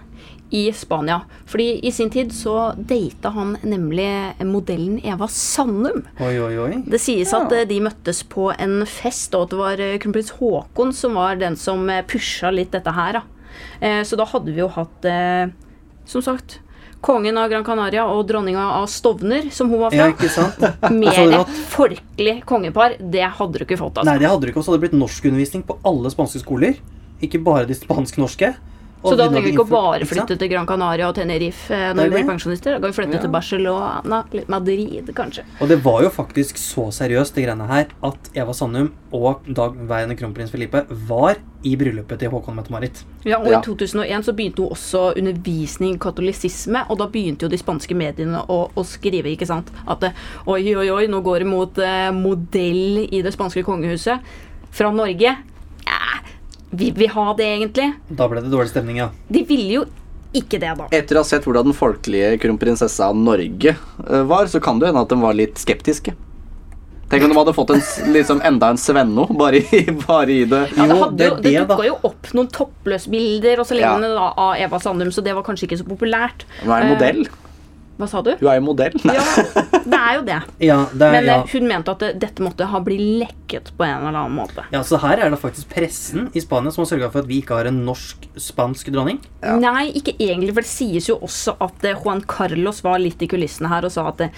Speaker 3: i Spania. Fordi i sin tid så data han nemlig modellen Eva Sandum.
Speaker 2: Oi, oi, oi.
Speaker 3: Det sies
Speaker 2: Ja.
Speaker 3: at eh, de møttes på en fest, og at det var eh, kronprins Haakon som var den som eh, pusha litt dette her. Da. Eh, Så da hadde vi jo hatt, eh, som sagt, kongen av Gran Canaria og dronninga av Stovner, som hun var
Speaker 2: Ja,
Speaker 3: fra.
Speaker 2: ikke sant?
Speaker 3: Mer
Speaker 2: Så rått.
Speaker 3: et folkelig kongepar, det hadde du ikke fått.
Speaker 2: Nei,
Speaker 3: Altså.
Speaker 2: det hadde du ikke. Og så hadde det blitt norskundervisning på alle spanske skoler. Ikke bare de spansk-norske. Og
Speaker 3: Så da
Speaker 2: vi
Speaker 3: trenger vi
Speaker 2: hadde
Speaker 3: ikke å
Speaker 2: innført-
Speaker 3: bare
Speaker 2: ikke sant?
Speaker 3: flytte til Gran Canaria og Tenerife eh,
Speaker 2: Det er
Speaker 3: når vi blir
Speaker 2: det.
Speaker 3: pensjonister. Da kan vi flytte
Speaker 1: Ja.
Speaker 3: til Barcelona, litt Madrid kanskje.
Speaker 2: Og det var jo faktisk så seriøst, det greiene her, at Eva Sandum og dagværende kronprins Felipe var i bryllupet til Håkon Mette-Marit.
Speaker 3: Ja, og
Speaker 1: Ja.
Speaker 3: I 2001 så begynte jo også undervisning i katolisisme, og da begynte jo de spanske mediene å, å skrive ikke sant? at eh, oi, oi, oi, nå går det mot eh, modell i det spanske kongehuset fra Norge. Ja, vil vi ha det, egentlig?
Speaker 2: Da ble det dårlig stemning, ja.
Speaker 3: De ville jo ikke det,
Speaker 2: Eh,
Speaker 3: da.
Speaker 1: Etter å ha sett hvordan den folkelige kronprinsessa av Norge eh, var, så kan det hende at de var litt skeptiske. Tenk om de hadde fått en, s- liksom enda en Svenno bare i, bare i det.
Speaker 3: Ja, det
Speaker 2: Jo,
Speaker 3: Altså, hadde
Speaker 2: det er
Speaker 3: jo, det
Speaker 2: det, da.
Speaker 3: dukka jo opp noen toppløsbilder og så
Speaker 1: Ja.
Speaker 3: lignende da, av Eva Sandum, så det var kanskje ikke så populært.
Speaker 1: Hun er en
Speaker 3: Eh,
Speaker 1: modell.
Speaker 3: Hva sa du?
Speaker 1: Hun er jo modell. Nei.
Speaker 3: Ja, det er jo det.
Speaker 2: Ja, det er,
Speaker 3: Men
Speaker 2: ja.
Speaker 3: eh, hun mente at eh, dette måtte ha blitt lekket på en eller annen måte.
Speaker 2: ja, så her er det faktisk pressen i Spania som har sørga for at vi ikke har en norsk-spansk dronning.
Speaker 3: Nei, ikke egentlig, for det sies jo også at eh, Juan Carlos var litt i kulissene her og sa at eh,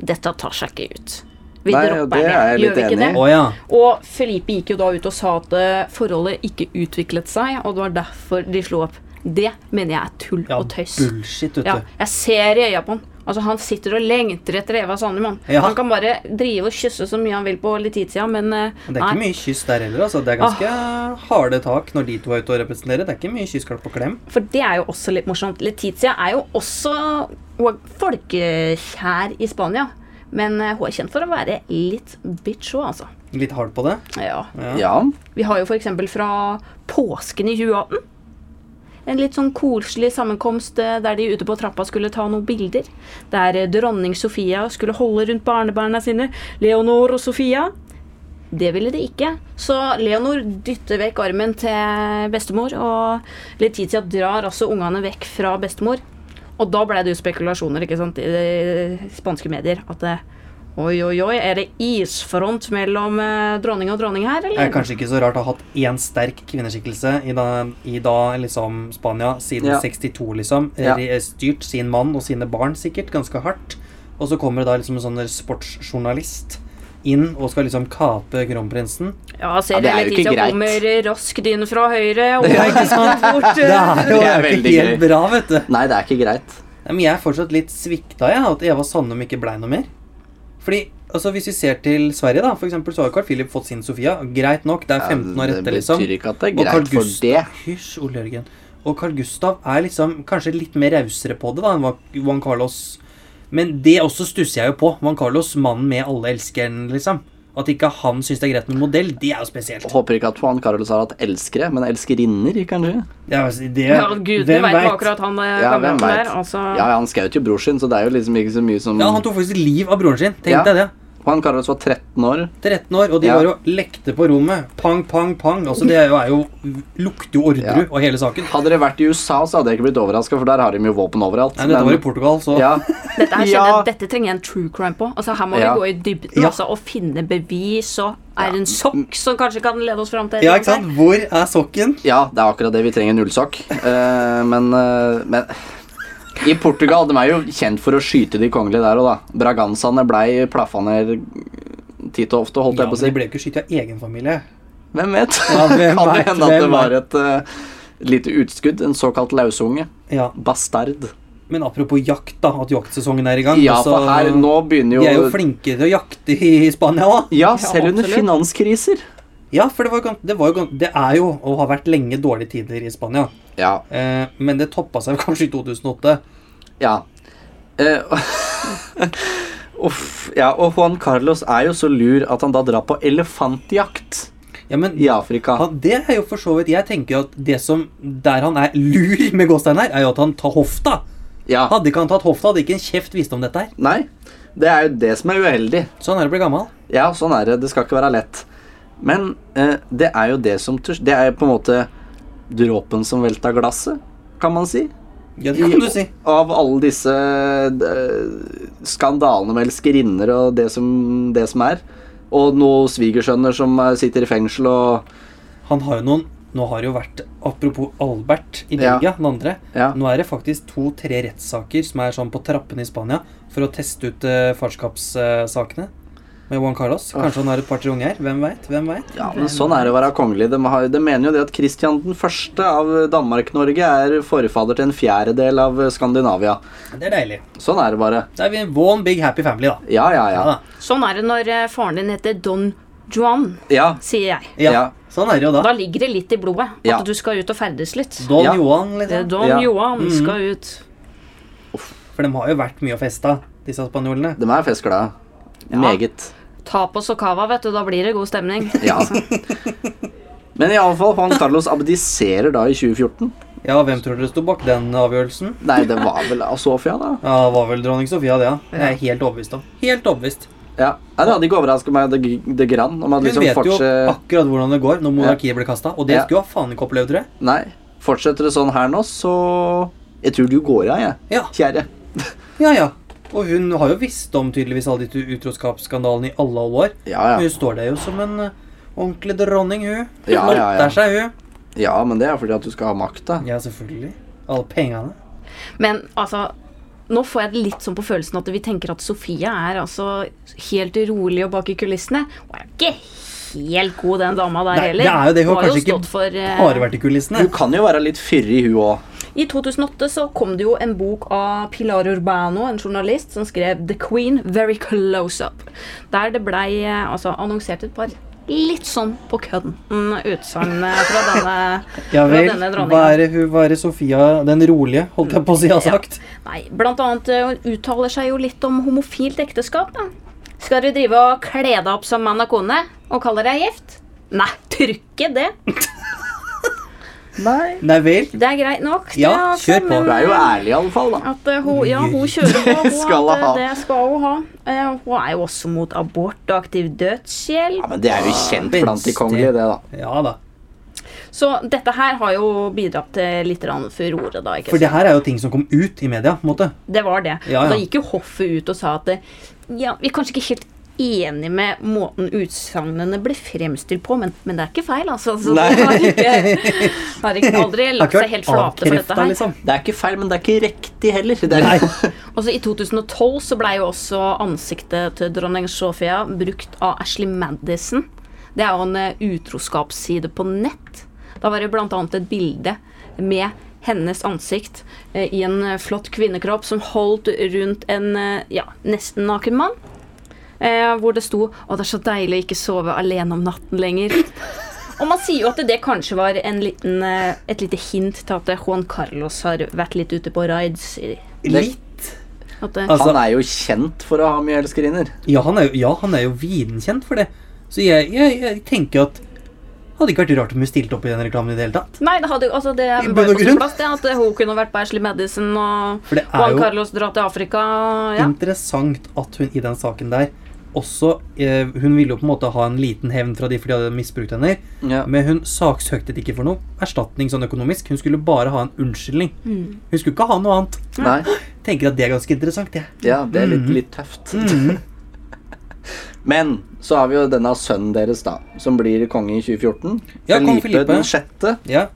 Speaker 3: dette tar seg ikke ut. Vi
Speaker 1: Nei,
Speaker 3: dropper
Speaker 1: det
Speaker 3: det,
Speaker 1: er jeg
Speaker 3: gjør vi
Speaker 1: litt
Speaker 3: ikke
Speaker 1: enig i.
Speaker 3: det?
Speaker 2: Å ja.
Speaker 3: Og Felipe gikk jo da ut og sa at eh, forholdet ikke utviklet seg, og det var derfor de slo opp. Det mener jeg er tull
Speaker 2: ja
Speaker 3: og tøys.
Speaker 2: bullshit, vet du.
Speaker 3: Ja, jeg ser i øya på han. Altså, Han sitter og lengter etter Eva Sandemann.
Speaker 2: Ja.
Speaker 3: Han kan bare drive og kysse så mye han vil på litt tid siden, men eh,
Speaker 2: Men Det er ikke mye kyss der heller. altså. Det er ganske harde tak når de to er ute og representerer. Det er ikke mye kyssklapp og klem.
Speaker 3: For det er jo også litt morsomt. Letizia er jo også og folkekjær i Spania. Men eh, hun er kjent for å være litt bitch òg, altså.
Speaker 2: Litt hard på det.
Speaker 3: Ja.
Speaker 1: Ja.
Speaker 3: Vi har jo f.eks. fra påsken i 2018. En litt sånn koselig sammenkomst eh, der de ute på trappa skulle ta noen bilder. Der eh, dronning Sofia skulle holde rundt barnebarna sine, Leonor og Sofia. Det ville de ikke. Så Leonor dytter vekk armen til bestemor, og Letizia drar altså ungene vekk fra bestemor. Og da ble det jo spekulasjoner ikke sant, i de spanske medier at eh, Oi, oi, oi, er det isfront mellom eh, dronning og dronning her,
Speaker 2: Det er
Speaker 3: eller?
Speaker 2: kanskje ikke så rart å ha hatt én sterk kvinneskikkelse i da, i da liksom Spania siden
Speaker 1: Ja.
Speaker 2: 62, liksom.
Speaker 1: Ja.
Speaker 2: Re- Styrt sin mann og sine barn sikkert ganske hardt. Og så kommer det da liksom en sånn der sportsjournalist inn og skal liksom kape kronprinsen.
Speaker 3: Ja, ser
Speaker 1: Ja, det er jo ikke
Speaker 3: Letizia
Speaker 1: greit.
Speaker 3: kommer raskt inn fra høyre og ikke sant bort.
Speaker 2: Det er jo
Speaker 1: Det er veldig
Speaker 2: ikke helt
Speaker 1: gøy.
Speaker 2: bra, vet du.
Speaker 1: Nei, det er ikke greit.
Speaker 2: Nei, men jeg er fortsatt litt svikta, jeg, at Eva Sandum ikke blei noe mer. Fordi, altså Hvis vi ser til Sverige, da, for eksempel, så har Carl Philip fått sin Sofia. Greit nok, det er 15 år
Speaker 1: det
Speaker 2: etter,
Speaker 1: betyr
Speaker 2: liksom.
Speaker 1: ikke at det er
Speaker 2: Og Carl
Speaker 1: greit for
Speaker 2: Gustav-
Speaker 1: det.
Speaker 2: Hysj, Ole Jørgen. Og Carl Gustav er liksom kanskje litt mer rausere på det da enn Juan- Juan Carlos. Men det også stusser jeg jo på. Juan Carlos, mannen med alle elskeren, liksom. At ikke han syns det er greit med modell, det er jo spesielt.
Speaker 1: Håper ikke at Juan Carlos har hatt elskere, men elskerinner, kanskje?
Speaker 2: Det er, det,
Speaker 3: Ja, gudene
Speaker 2: hvem
Speaker 3: veit
Speaker 2: vet?
Speaker 3: akkurat han eh,
Speaker 1: Ja, hvem
Speaker 3: kameraten
Speaker 1: vet?
Speaker 3: der. Altså,
Speaker 1: Ja, ja, han skjøt jo bror sin, så det er jo liksom ikke så mye som
Speaker 2: Ja, han tok faktisk liv av broren sin. Tenk
Speaker 1: Ja.
Speaker 2: deg det.
Speaker 1: Juan Carlos var 13 år.
Speaker 2: 13 år, og de
Speaker 1: Ja.
Speaker 2: var jo lekte på rommet. Pang, pang, pang. Altså, det er jo, er jo lukter jo Orderud
Speaker 1: Ja.
Speaker 2: og hele saken.
Speaker 1: Hadde det vært i USA, så hadde jeg ikke blitt overraska, for der har de jo våpen overalt.
Speaker 2: Nei, men dette var i Portugal, så
Speaker 1: ja.
Speaker 3: Dette, her
Speaker 1: Ja.
Speaker 3: kjenner, jeg- dette trenger jeg en true crime på. Altså, her må
Speaker 1: Ja.
Speaker 3: vi gå i dybden
Speaker 2: Ja.
Speaker 3: altså, og finne bevis. Og er det en sokk som kanskje kan lede oss fram til et
Speaker 2: Ja,
Speaker 3: eller
Speaker 2: ikke sant?
Speaker 3: annet
Speaker 2: Hvor er sokken?
Speaker 1: ja, det er akkurat det. Vi trenger nullsokk. Eh, men, eh, men I Portugal de er jo kjent for å skyte de kongelige der òg, da. Braganzaene blei plaffa ned titt og ofte, holdt
Speaker 2: Ja,
Speaker 1: jeg på
Speaker 2: men
Speaker 1: å si.
Speaker 2: de ble jo ikke skutt av egen familie.
Speaker 1: Hvem vet?
Speaker 2: Ja, hvem
Speaker 1: kan
Speaker 2: vet,
Speaker 1: det hende at
Speaker 2: hvem
Speaker 1: det var et eh, lite utskudd. En såkalt lausunge.
Speaker 2: Ja,
Speaker 1: Bastard.
Speaker 2: Men apropos jakt, da, at jaktsesongen er i gang.
Speaker 1: Ja,
Speaker 2: altså,
Speaker 1: for her nå begynner jo,
Speaker 2: De er jo flinke til å jakte i Spania òg.
Speaker 1: Ja, selv under
Speaker 3: absolutt.
Speaker 1: finanskriser.
Speaker 2: Ja, for det, var, jo gans- det, var jo, gans- det er jo og har vært lenge dårlige tider i Spania.
Speaker 1: Ja,
Speaker 2: Eh, men det toppa seg kanskje i 2008.
Speaker 1: Ja. Eh, uff, ja. Og Juan Carlos er jo så lur at han da drar på elefantjakt
Speaker 2: Ja, men
Speaker 1: i Afrika.
Speaker 2: han, det er jo for så vidt Jeg tenker jo at det som Der han er lur med gåstein her, er jo at han tar hofta.
Speaker 1: Ja.
Speaker 2: Hadde ikke han tatt hofta, hadde ikke en kjeft visst om dette her.
Speaker 1: Nei, det er jo det som er uheldig.
Speaker 2: Sånn er det å bli gammel.
Speaker 1: Ja, sånn er det. Det skal ikke være lett. Men eh, det er jo det som tørs, Det er på en måte dråpen som velta glasset, kan man si.
Speaker 2: Ja, det kan du si.
Speaker 1: Av alle disse eh, skandalene med elskerinner og det som, det som er. Og noen svigersønner som eh, sitter i fengsel og
Speaker 2: Han har jo noen Nå har det jo vært Apropos Albert i
Speaker 1: Ja.
Speaker 2: Belgia, den andre.
Speaker 1: Ja.
Speaker 2: Nå er det faktisk to-tre rettssaker som er sånn på trappene i Spania for å teste ut eh, farskapssakene med Juan Carlos. Kanskje han har et par-tre unger. Hvem veit? Hvem veit?
Speaker 1: Ja, men sånn er det å være kongelig. De, har, de mener jo det at Kristian den første av Danmark-Norge er forfader til en fjerdedel av Skandinavia.
Speaker 2: Det er deilig.
Speaker 1: Sånn er det bare.
Speaker 2: Da er vi en one big happy family, da.
Speaker 1: Ja, ja,
Speaker 2: Ja,
Speaker 1: ja.
Speaker 2: da.
Speaker 3: Sånn er det når eh, faren din heter Don Juan,
Speaker 1: Ja,
Speaker 3: sier jeg.
Speaker 2: ja.
Speaker 1: Ja.
Speaker 2: Sånn er det jo da.
Speaker 3: Da ligger det litt i blodet at
Speaker 1: Ja.
Speaker 3: du skal ut og ferdes litt.
Speaker 2: Don
Speaker 1: Ja.
Speaker 2: Johan,
Speaker 3: Det
Speaker 2: liksom.
Speaker 3: er Don
Speaker 1: Ja.
Speaker 3: Johan skal ut.
Speaker 2: For de har jo vært mye og festa, disse spanjolene.
Speaker 1: de er festglade. Meget.
Speaker 3: Tapas og cava, vet du. Da blir det god stemning.
Speaker 1: Ja. Men iallfall Juan Carlos abdiserer da i 2014.
Speaker 2: Ja, hvem tror dere sto bak den avgjørelsen?
Speaker 1: Nei, det var vel av Sofia, da.
Speaker 2: Ja, det var vel dronning Sofia, det, ja. Det er jeg helt overbevist om. Helt overbevist.
Speaker 1: Ja. Nei, det hadde ikke overraska meg det, det grann. Om han
Speaker 2: Hun
Speaker 1: liksom
Speaker 2: vet jo
Speaker 1: fortsetter
Speaker 2: akkurat hvordan det går når monarkiet blir kasta, og det
Speaker 1: Ja.
Speaker 2: skulle hun faen ikke opplevd, tror jeg.
Speaker 1: Nei, fortsetter det sånn her nå, så Jeg tror du går av, jeg,
Speaker 2: Ja,
Speaker 1: kjære.
Speaker 2: ja, ja. Og hun har jo visst om tydeligvis alle de utroskapsskandalene i alle år.
Speaker 1: Ja, ja.
Speaker 2: Hun står der jo som en eh, ordentlig dronning, hun. Hun
Speaker 1: Ja, ja, ja.
Speaker 2: lotter seg, hun.
Speaker 1: ja, men det er fordi at du skal ha makta.
Speaker 2: Ja, selvfølgelig. Alle pengene.
Speaker 3: Men altså nå får jeg det litt sånn på følelsen at vi tenker at Sofie er altså helt rolig og bak i kulissene. Hun er ikke helt god, den dama der
Speaker 2: Nei,
Speaker 3: heller.
Speaker 2: det er jo det. Hun har
Speaker 3: har jo
Speaker 2: kanskje ikke
Speaker 3: stått for eh,
Speaker 2: Har vært i kulissene.
Speaker 1: Hun kan jo være litt fyrig, hun òg.
Speaker 3: I 2008 så kom det jo en bok av Pilar Urbano, en journalist, som skrev The Queen Very Close Up. Der det blei eh, altså, annonsert et par litt sånn på kødden utsagn eh, fra denne,
Speaker 2: Ja
Speaker 3: fra
Speaker 2: vel.
Speaker 3: denne
Speaker 2: Hva
Speaker 3: dronninga.
Speaker 2: er det hun hva er det Sofia den rolige, holdt jeg på å si, har sagt?
Speaker 3: Nei, blant annet eh, hun uttaler seg jo litt om homofilt ekteskap. Da. Skal du drive og kle deg opp som mann og kone og kalle deg gift? Nei, trykke det.
Speaker 1: Nei.
Speaker 2: Nei vel.
Speaker 3: Det er greit nok. det, altså, eh,
Speaker 2: Ja, kjør på.
Speaker 1: Hun er jo ærlig, iallfall, da.
Speaker 3: At eh, hun, ja, hun kjører på. Hun,
Speaker 1: Skal
Speaker 3: at, eh,
Speaker 1: ha.
Speaker 3: Det skal hun ha. Eh, hun er jo også mot abort og aktiv dødshjelp.
Speaker 1: Ja, men det er jo kjent blant de kongelige, det, da.
Speaker 2: Ja da.
Speaker 3: Så dette her har jo bidratt til litt grann furore, da. ikke
Speaker 2: For det
Speaker 3: sant?
Speaker 2: her er jo ting som kom ut i media. på en måte.
Speaker 3: Det var det.
Speaker 2: Ja,
Speaker 3: Og Da
Speaker 2: ja.
Speaker 3: gikk jo hoffet ut og sa at eh, ja, vi er kanskje ikke helt enig med måten utsagnene ble fremstilt på, men, men det er ikke feil, altså. Så
Speaker 1: Nei.
Speaker 3: de har ikke, har ikke
Speaker 2: Det
Speaker 3: aldri
Speaker 2: har
Speaker 3: lagt
Speaker 2: ikke
Speaker 3: seg
Speaker 2: vært
Speaker 3: helt flate for dette
Speaker 2: avkrefta,
Speaker 3: her.
Speaker 2: liksom.
Speaker 1: Det er ikke feil, men det er ikke riktig heller. Det er,
Speaker 2: Nei.
Speaker 3: Og så I 2012 så ble jo også ansiktet til dronning Sofia brukt av Ashley Madison. Det er jo en eh, utroskapsside på nett. Da var det bl.a. et bilde med hennes ansikt eh, i en eh, flott kvinnekropp som holdt rundt en eh, ja, nesten naken mann. Eh, hvor det sto 'Å, det er så deilig å ikke sove alene om natten lenger'. Og man sier jo at det kanskje var en liten, eh, et lite hint til at eh, Juan Carlos har vært litt ute på rides. i-
Speaker 2: Litt.
Speaker 3: At eh, det,
Speaker 2: Altså,
Speaker 1: Han er jo kjent for å ha mye elskerinner.
Speaker 2: ja, han er jo, ja, han er jo viden kjent for det. Så jeg, jeg, jeg tenker at hadde ikke vært rart om hun stilte opp i den reklamen i det hele tatt.
Speaker 3: Nei, det, hadde, jo- altså, det
Speaker 2: bunn
Speaker 3: var
Speaker 2: og
Speaker 3: jo på
Speaker 2: grunn.
Speaker 3: sin plass det, at eh, hun kunne vært på Ashley Madison og
Speaker 2: For det er
Speaker 3: Juan
Speaker 2: jo-
Speaker 3: Carlos dra til Afrika. Ja.
Speaker 2: Interessant at hun i den saken der også eh, Hun ville jo på en måte ha en liten hevn fra de for de hadde misbrukt henne.
Speaker 1: Ja.
Speaker 2: Men hun saksøkte det ikke for noe erstatning sånn økonomisk. Hun skulle bare ha en unnskyldning.
Speaker 1: Mm.
Speaker 2: Hun skulle ikke ha noe annet.
Speaker 1: Nei.
Speaker 2: Tenker at det Mm. er ganske interessant, jeg.
Speaker 1: Ja, det er litt, litt tøft. Men så har vi jo denne sønnen deres, da, som blir konge i 2014.
Speaker 2: Ja, kong Felipe.
Speaker 1: den sjette.
Speaker 2: Ja,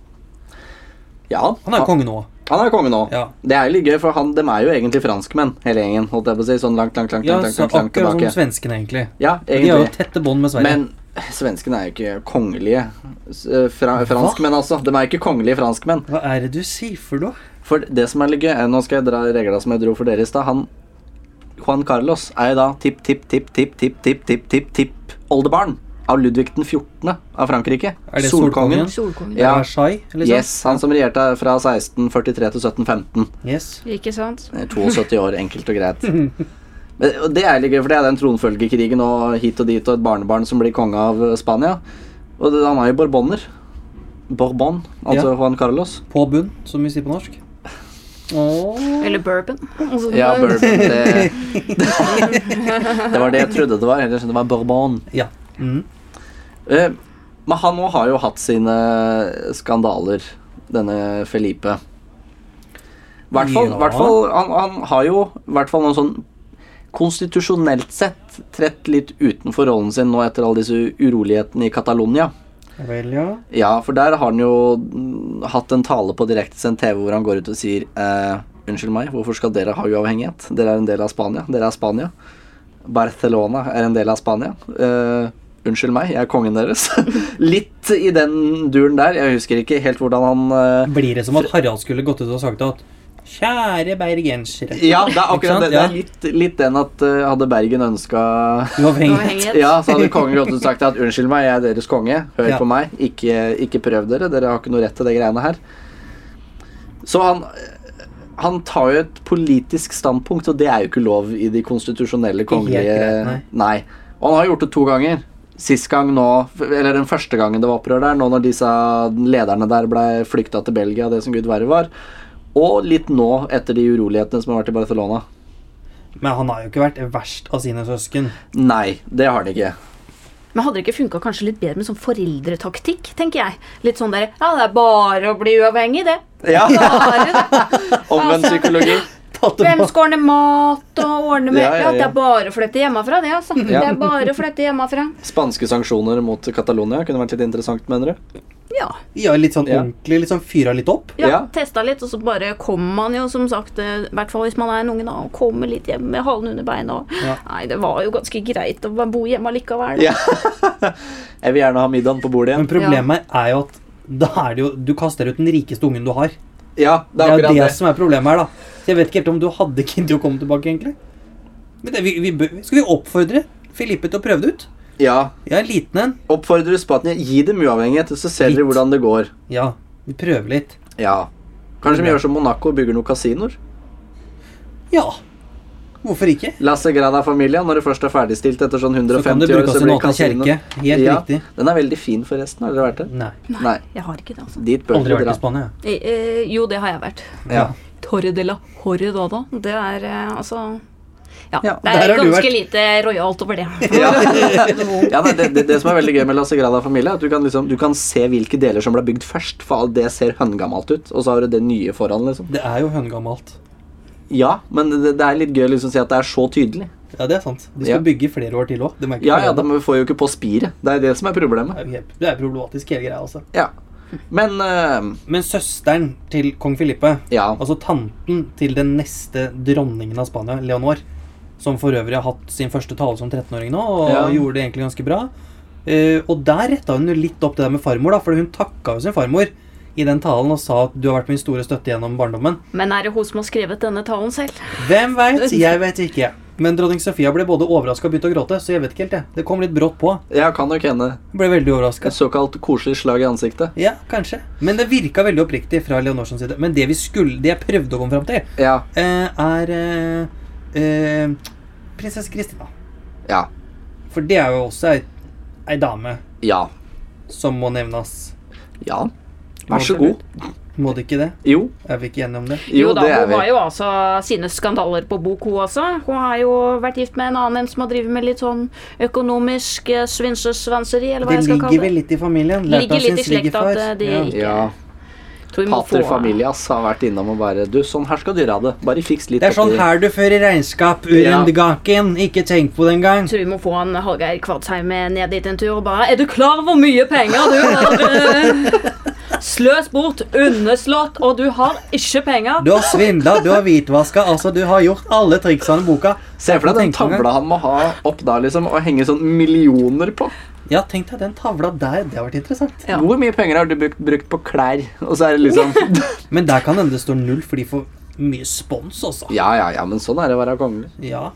Speaker 1: Ja,
Speaker 2: han er jo konge nå.
Speaker 1: han er konge nå.
Speaker 2: Ja.
Speaker 1: Det er jo litt gøy, for han, dem er jo egentlig franskmenn, hele gjengen. holdt jeg på å si, Sånn langt, langt, langt,
Speaker 2: Ja,
Speaker 1: langt, langt,
Speaker 2: så
Speaker 1: langt, langt
Speaker 2: akkurat som
Speaker 1: tilbake.
Speaker 2: svenskene, egentlig.
Speaker 1: Ja,
Speaker 2: De har jo
Speaker 1: egentlig.
Speaker 2: tette bånd med Sverige.
Speaker 1: Men svenskene er jo ikke kongelige s- eh, fra, franskmenn, altså. De er jo ikke kongelige franskmenn.
Speaker 2: Hva er det du sier for noe?
Speaker 1: For det som er litt gøy, eh, nå skal jeg dra regla som jeg dro for dere i stad. Han Juan Carlos er jo da tipp, tipp, tipp, tipp, tipp, tipp, tipp, tipp, tipp oldebarn av Ludvig den 14. av Frankrike.
Speaker 2: Er det solkongen?
Speaker 3: Solkongen.
Speaker 1: Ja.
Speaker 2: Versailles, liksom?
Speaker 1: Yes, han som regjerte fra 1643 til 1715.
Speaker 2: Yes.
Speaker 3: Ikke sant?
Speaker 1: Eh, 72 år, enkelt og greit. Men, og det er litt gøy, for det er den tronfølgekrigen og hit og dit og et barnebarn som blir konge av eh, Spania. Og det, han er jo borboner. Bourbon, altså
Speaker 2: Ja.
Speaker 1: Juan Carlos.
Speaker 2: På bunn, som vi sier på norsk. Åh.
Speaker 3: Eller bourbon. Altså,
Speaker 1: Ja,
Speaker 3: det-
Speaker 1: bourbon. Det, det var det jeg trodde det var. Jeg trodde det var bourbon.
Speaker 2: Ja. Mm.
Speaker 1: Eh, Men han òg har jo hatt sine skandaler, denne Felipe. I hvert fall,
Speaker 2: Ja.
Speaker 1: hvert fall han, han har jo i hvert fall noen sånn konstitusjonelt sett trett litt utenfor rollen sin nå etter alle disse urolighetene i Catalonia.
Speaker 2: Vel, ja.
Speaker 1: Ja, for der har han jo mm, hatt en tale på direktesendt TV hvor han går ut og sier eh, Unnskyld meg, hvorfor skal dere ha uavhengighet? Dere er en del av Spania. Dere er Spania. Barcelona er en del av Spania. Eh, unnskyld meg, jeg er kongen deres. Litt i den duren der. Jeg husker ikke helt hvordan han eh,
Speaker 2: Blir det som at Harald skulle gått ut og sagt at Kjære bergensere.
Speaker 1: Ja, det er akkurat
Speaker 2: sant?
Speaker 1: det. Det
Speaker 2: Ja.
Speaker 1: er litt, litt den at eh, hadde Bergen ønska
Speaker 2: Uavhengig.
Speaker 3: Uavhengighet.
Speaker 1: Ja, så hadde kongen gått ut og sagt at unnskyld meg, jeg er deres konge. Hør
Speaker 2: Ja.
Speaker 1: på meg. Ikke, ikke prøv dere. Dere har ikke noe rett til de greiene her. Så han han tar jo et politisk standpunkt, og det er jo ikke lov i de konstitusjonelle
Speaker 2: Ikke helt
Speaker 1: kongelige
Speaker 2: greit,
Speaker 1: nei. Og han har gjort det to ganger. Sist gang nå, eller Den første gangen det var opprør der, nå når disse lederne der ble flykta til Belgia, det som gud verre var. Og litt nå, etter de urolighetene som har vært i Barcelona.
Speaker 2: Men han har jo ikke vært verst av sine søsken.
Speaker 1: Nei, det har han ikke.
Speaker 3: Men hadde det ikke funka kanskje litt bedre med sånn foreldretaktikk, tenker jeg. Litt sånn der Ja, det er bare å bli uavhengig, det.
Speaker 1: Ja,
Speaker 3: Bare det.
Speaker 1: Omvendt psykologi.
Speaker 2: Tatt det
Speaker 3: Hvem
Speaker 2: på-
Speaker 3: skal ordne mat og ordne med
Speaker 1: Ja,
Speaker 3: Ja,
Speaker 1: ja, ja.
Speaker 3: det er bare å flytte hjemmefra, det, altså. Det er bare å flytte hjemmefra.
Speaker 1: Spanske sanksjoner mot Catalonia kunne vært litt interessant, mener du?
Speaker 3: Ja.
Speaker 2: Ja, litt sånn
Speaker 1: Ja.
Speaker 2: ordentlig. Litt sånn fyra litt opp.
Speaker 3: ja,
Speaker 1: Ja.
Speaker 3: Testa litt, og så bare kommer man jo, som sagt, eh, i hvert fall hvis man er en unge, da, og kommer litt hjem med halen under beina. og
Speaker 2: Ja.
Speaker 3: Nei, det var jo ganske greit å bo hjemme allikevel.
Speaker 1: Ja. Jeg vil gjerne ha middagen på bordet
Speaker 2: Men
Speaker 1: igjen.
Speaker 2: problemet er jo at da er det jo, du kaster ut den rikeste ungen du har. Det
Speaker 1: Ja, det er
Speaker 2: er jo
Speaker 1: akkurat
Speaker 2: det
Speaker 1: det.
Speaker 2: som er problemet her, da. Så jeg vet ikke helt om du hadde giddet å komme tilbake, egentlig. Men det, vi, vi, bør- skal vi oppfordre Filippe til å prøve det ut?
Speaker 1: Ja.
Speaker 2: Ja, en liten en.
Speaker 1: Oppfordrer Spania, gi dem uavhengighet, så ser dere
Speaker 2: Litt.
Speaker 1: hvordan det går.
Speaker 2: Ja, vi prøver litt.
Speaker 1: Ja. Kanskje vi gjør som Monaco og bygger noen kasinoer?
Speaker 2: Ja. Hvorfor ikke?
Speaker 1: La Sagrada-familia, når det først er ferdigstilt etter sånn
Speaker 2: Så kan
Speaker 1: 150
Speaker 2: det
Speaker 1: år,
Speaker 2: brukes i en åpen kirke. Helt
Speaker 1: ja,
Speaker 2: riktig.
Speaker 1: Den er veldig fin, forresten. Har dere vært der?
Speaker 2: Nei.
Speaker 1: Nei.
Speaker 3: Jeg har ikke det, altså.
Speaker 1: Dit bør
Speaker 2: Aldri
Speaker 1: dere
Speaker 2: vært i
Speaker 1: dra.
Speaker 2: Spania.
Speaker 3: Eh, eh, jo, det har jeg vært.
Speaker 1: Ja.
Speaker 3: Torre de la Horredada. Det er eh, altså ja,
Speaker 2: Ja,
Speaker 3: det
Speaker 2: der
Speaker 3: er
Speaker 2: har du
Speaker 3: ganske
Speaker 2: vært.
Speaker 3: lite rojalt over det.
Speaker 1: Ja. ja nei, det, det, det som er veldig gøy med La Sagrada Familia, er at du kan, liksom, du kan se hvilke deler som ble bygd først. For det ser høngammalt ut, og så har du det nye foran. liksom.
Speaker 2: Det er jo høngammalt.
Speaker 1: Ja, men det, det er litt gøy å liksom si at det er så tydelig.
Speaker 2: Ja, det er sant. De
Speaker 1: Ja.
Speaker 2: skal bygge i flere år til òg. Det, merker
Speaker 1: Ja,
Speaker 2: jeg
Speaker 1: ja,
Speaker 2: allerede.
Speaker 1: de får jo ikke på spiret. Det er det som er
Speaker 2: Det
Speaker 1: problemet.
Speaker 2: er jo helt- det er problematisk, hele greia. altså.
Speaker 1: Ja. Men eh,
Speaker 2: Men søsteren til kong Filippe,
Speaker 1: ja.
Speaker 2: altså tanten til den neste dronningen av Spania, Leonor, som for øvrig har hatt sin første tale som 13-åring nå, og
Speaker 1: Ja.
Speaker 2: gjorde det egentlig ganske bra Eh, Og der retta hun jo litt opp det der med farmor, da, for hun takka jo sin farmor i den talen og sa at du har vært min store støtte gjennom barndommen.
Speaker 3: Men er det hun som har skrevet denne talen selv?
Speaker 2: Hvem veit? Jeg veit ikke. Men dronning Sofia ble både overraska og begynte å gråte, så jeg vet ikke helt, jeg. Det kom litt brått på.
Speaker 1: Jeg kan nok hende.
Speaker 2: Hun ble veldig overraska.
Speaker 1: Et såkalt koselig slag i ansiktet.
Speaker 2: Ja, kanskje. Men det virka veldig oppriktig fra Leonors side. Men det vi skulle, det jeg prøvde å komme fram til,
Speaker 1: Ja.
Speaker 2: eh, er eh, eh, prinsesse Kristina.
Speaker 1: Ja.
Speaker 2: For det er jo også ei, ei dame
Speaker 1: Ja.
Speaker 2: som må nevnes.
Speaker 1: Ja. Vær så god.
Speaker 2: Må det ikke det?
Speaker 1: Jo.
Speaker 2: Er vi ikke enige om det?
Speaker 1: Jo,
Speaker 3: da,
Speaker 1: det er
Speaker 3: hun har
Speaker 1: vi.
Speaker 3: jo altså sine skandaler på bok, hun også. Hun har jo vært gift med en annen en som har drevet med litt sånn økonomisk eh, svinsesvanseri, eller hva
Speaker 2: Det
Speaker 3: jeg skal
Speaker 2: ligger
Speaker 3: kalle det.
Speaker 2: vel litt i familien. lært
Speaker 3: Ligger
Speaker 2: av sin
Speaker 3: litt i slekt at,
Speaker 2: svigerfar.
Speaker 3: eh, de
Speaker 2: Ja.
Speaker 3: ikke-
Speaker 1: Ja.
Speaker 3: Tror vi må
Speaker 1: Pater
Speaker 3: få-
Speaker 1: Familias har vært innom og bare Du, sånn her skal dere ha det. Bare fiks litt
Speaker 2: Det er sånn
Speaker 1: oppi-
Speaker 2: her du fører regnskap,
Speaker 1: Ja.
Speaker 2: Urendegaken. Ikke tenk på det engang.
Speaker 3: Tror vi må få han Hallgeir Kvadsheim med ned dit en tur og bare Er du klar over hvor mye penger du har eh, sløst bort, underslått, og du har ikke penger?
Speaker 2: Du har svindla, du har hvitvaska, altså du har gjort alle triksene i boka.
Speaker 1: Se for deg den
Speaker 2: Tenk på det.
Speaker 1: tavla han må ha opp der liksom, og henge sånn millioner på.
Speaker 2: Ja, tenk deg den tavla der. Det har vært interessant.
Speaker 3: Ja.
Speaker 1: Hvor mye penger har du brukt, brukt på klær? Og så er det liksom
Speaker 2: Men der kan hende det står null, for de får mye spons også.
Speaker 1: Ja, ja, ja, men sånn er det å være kongelig.
Speaker 2: Ja.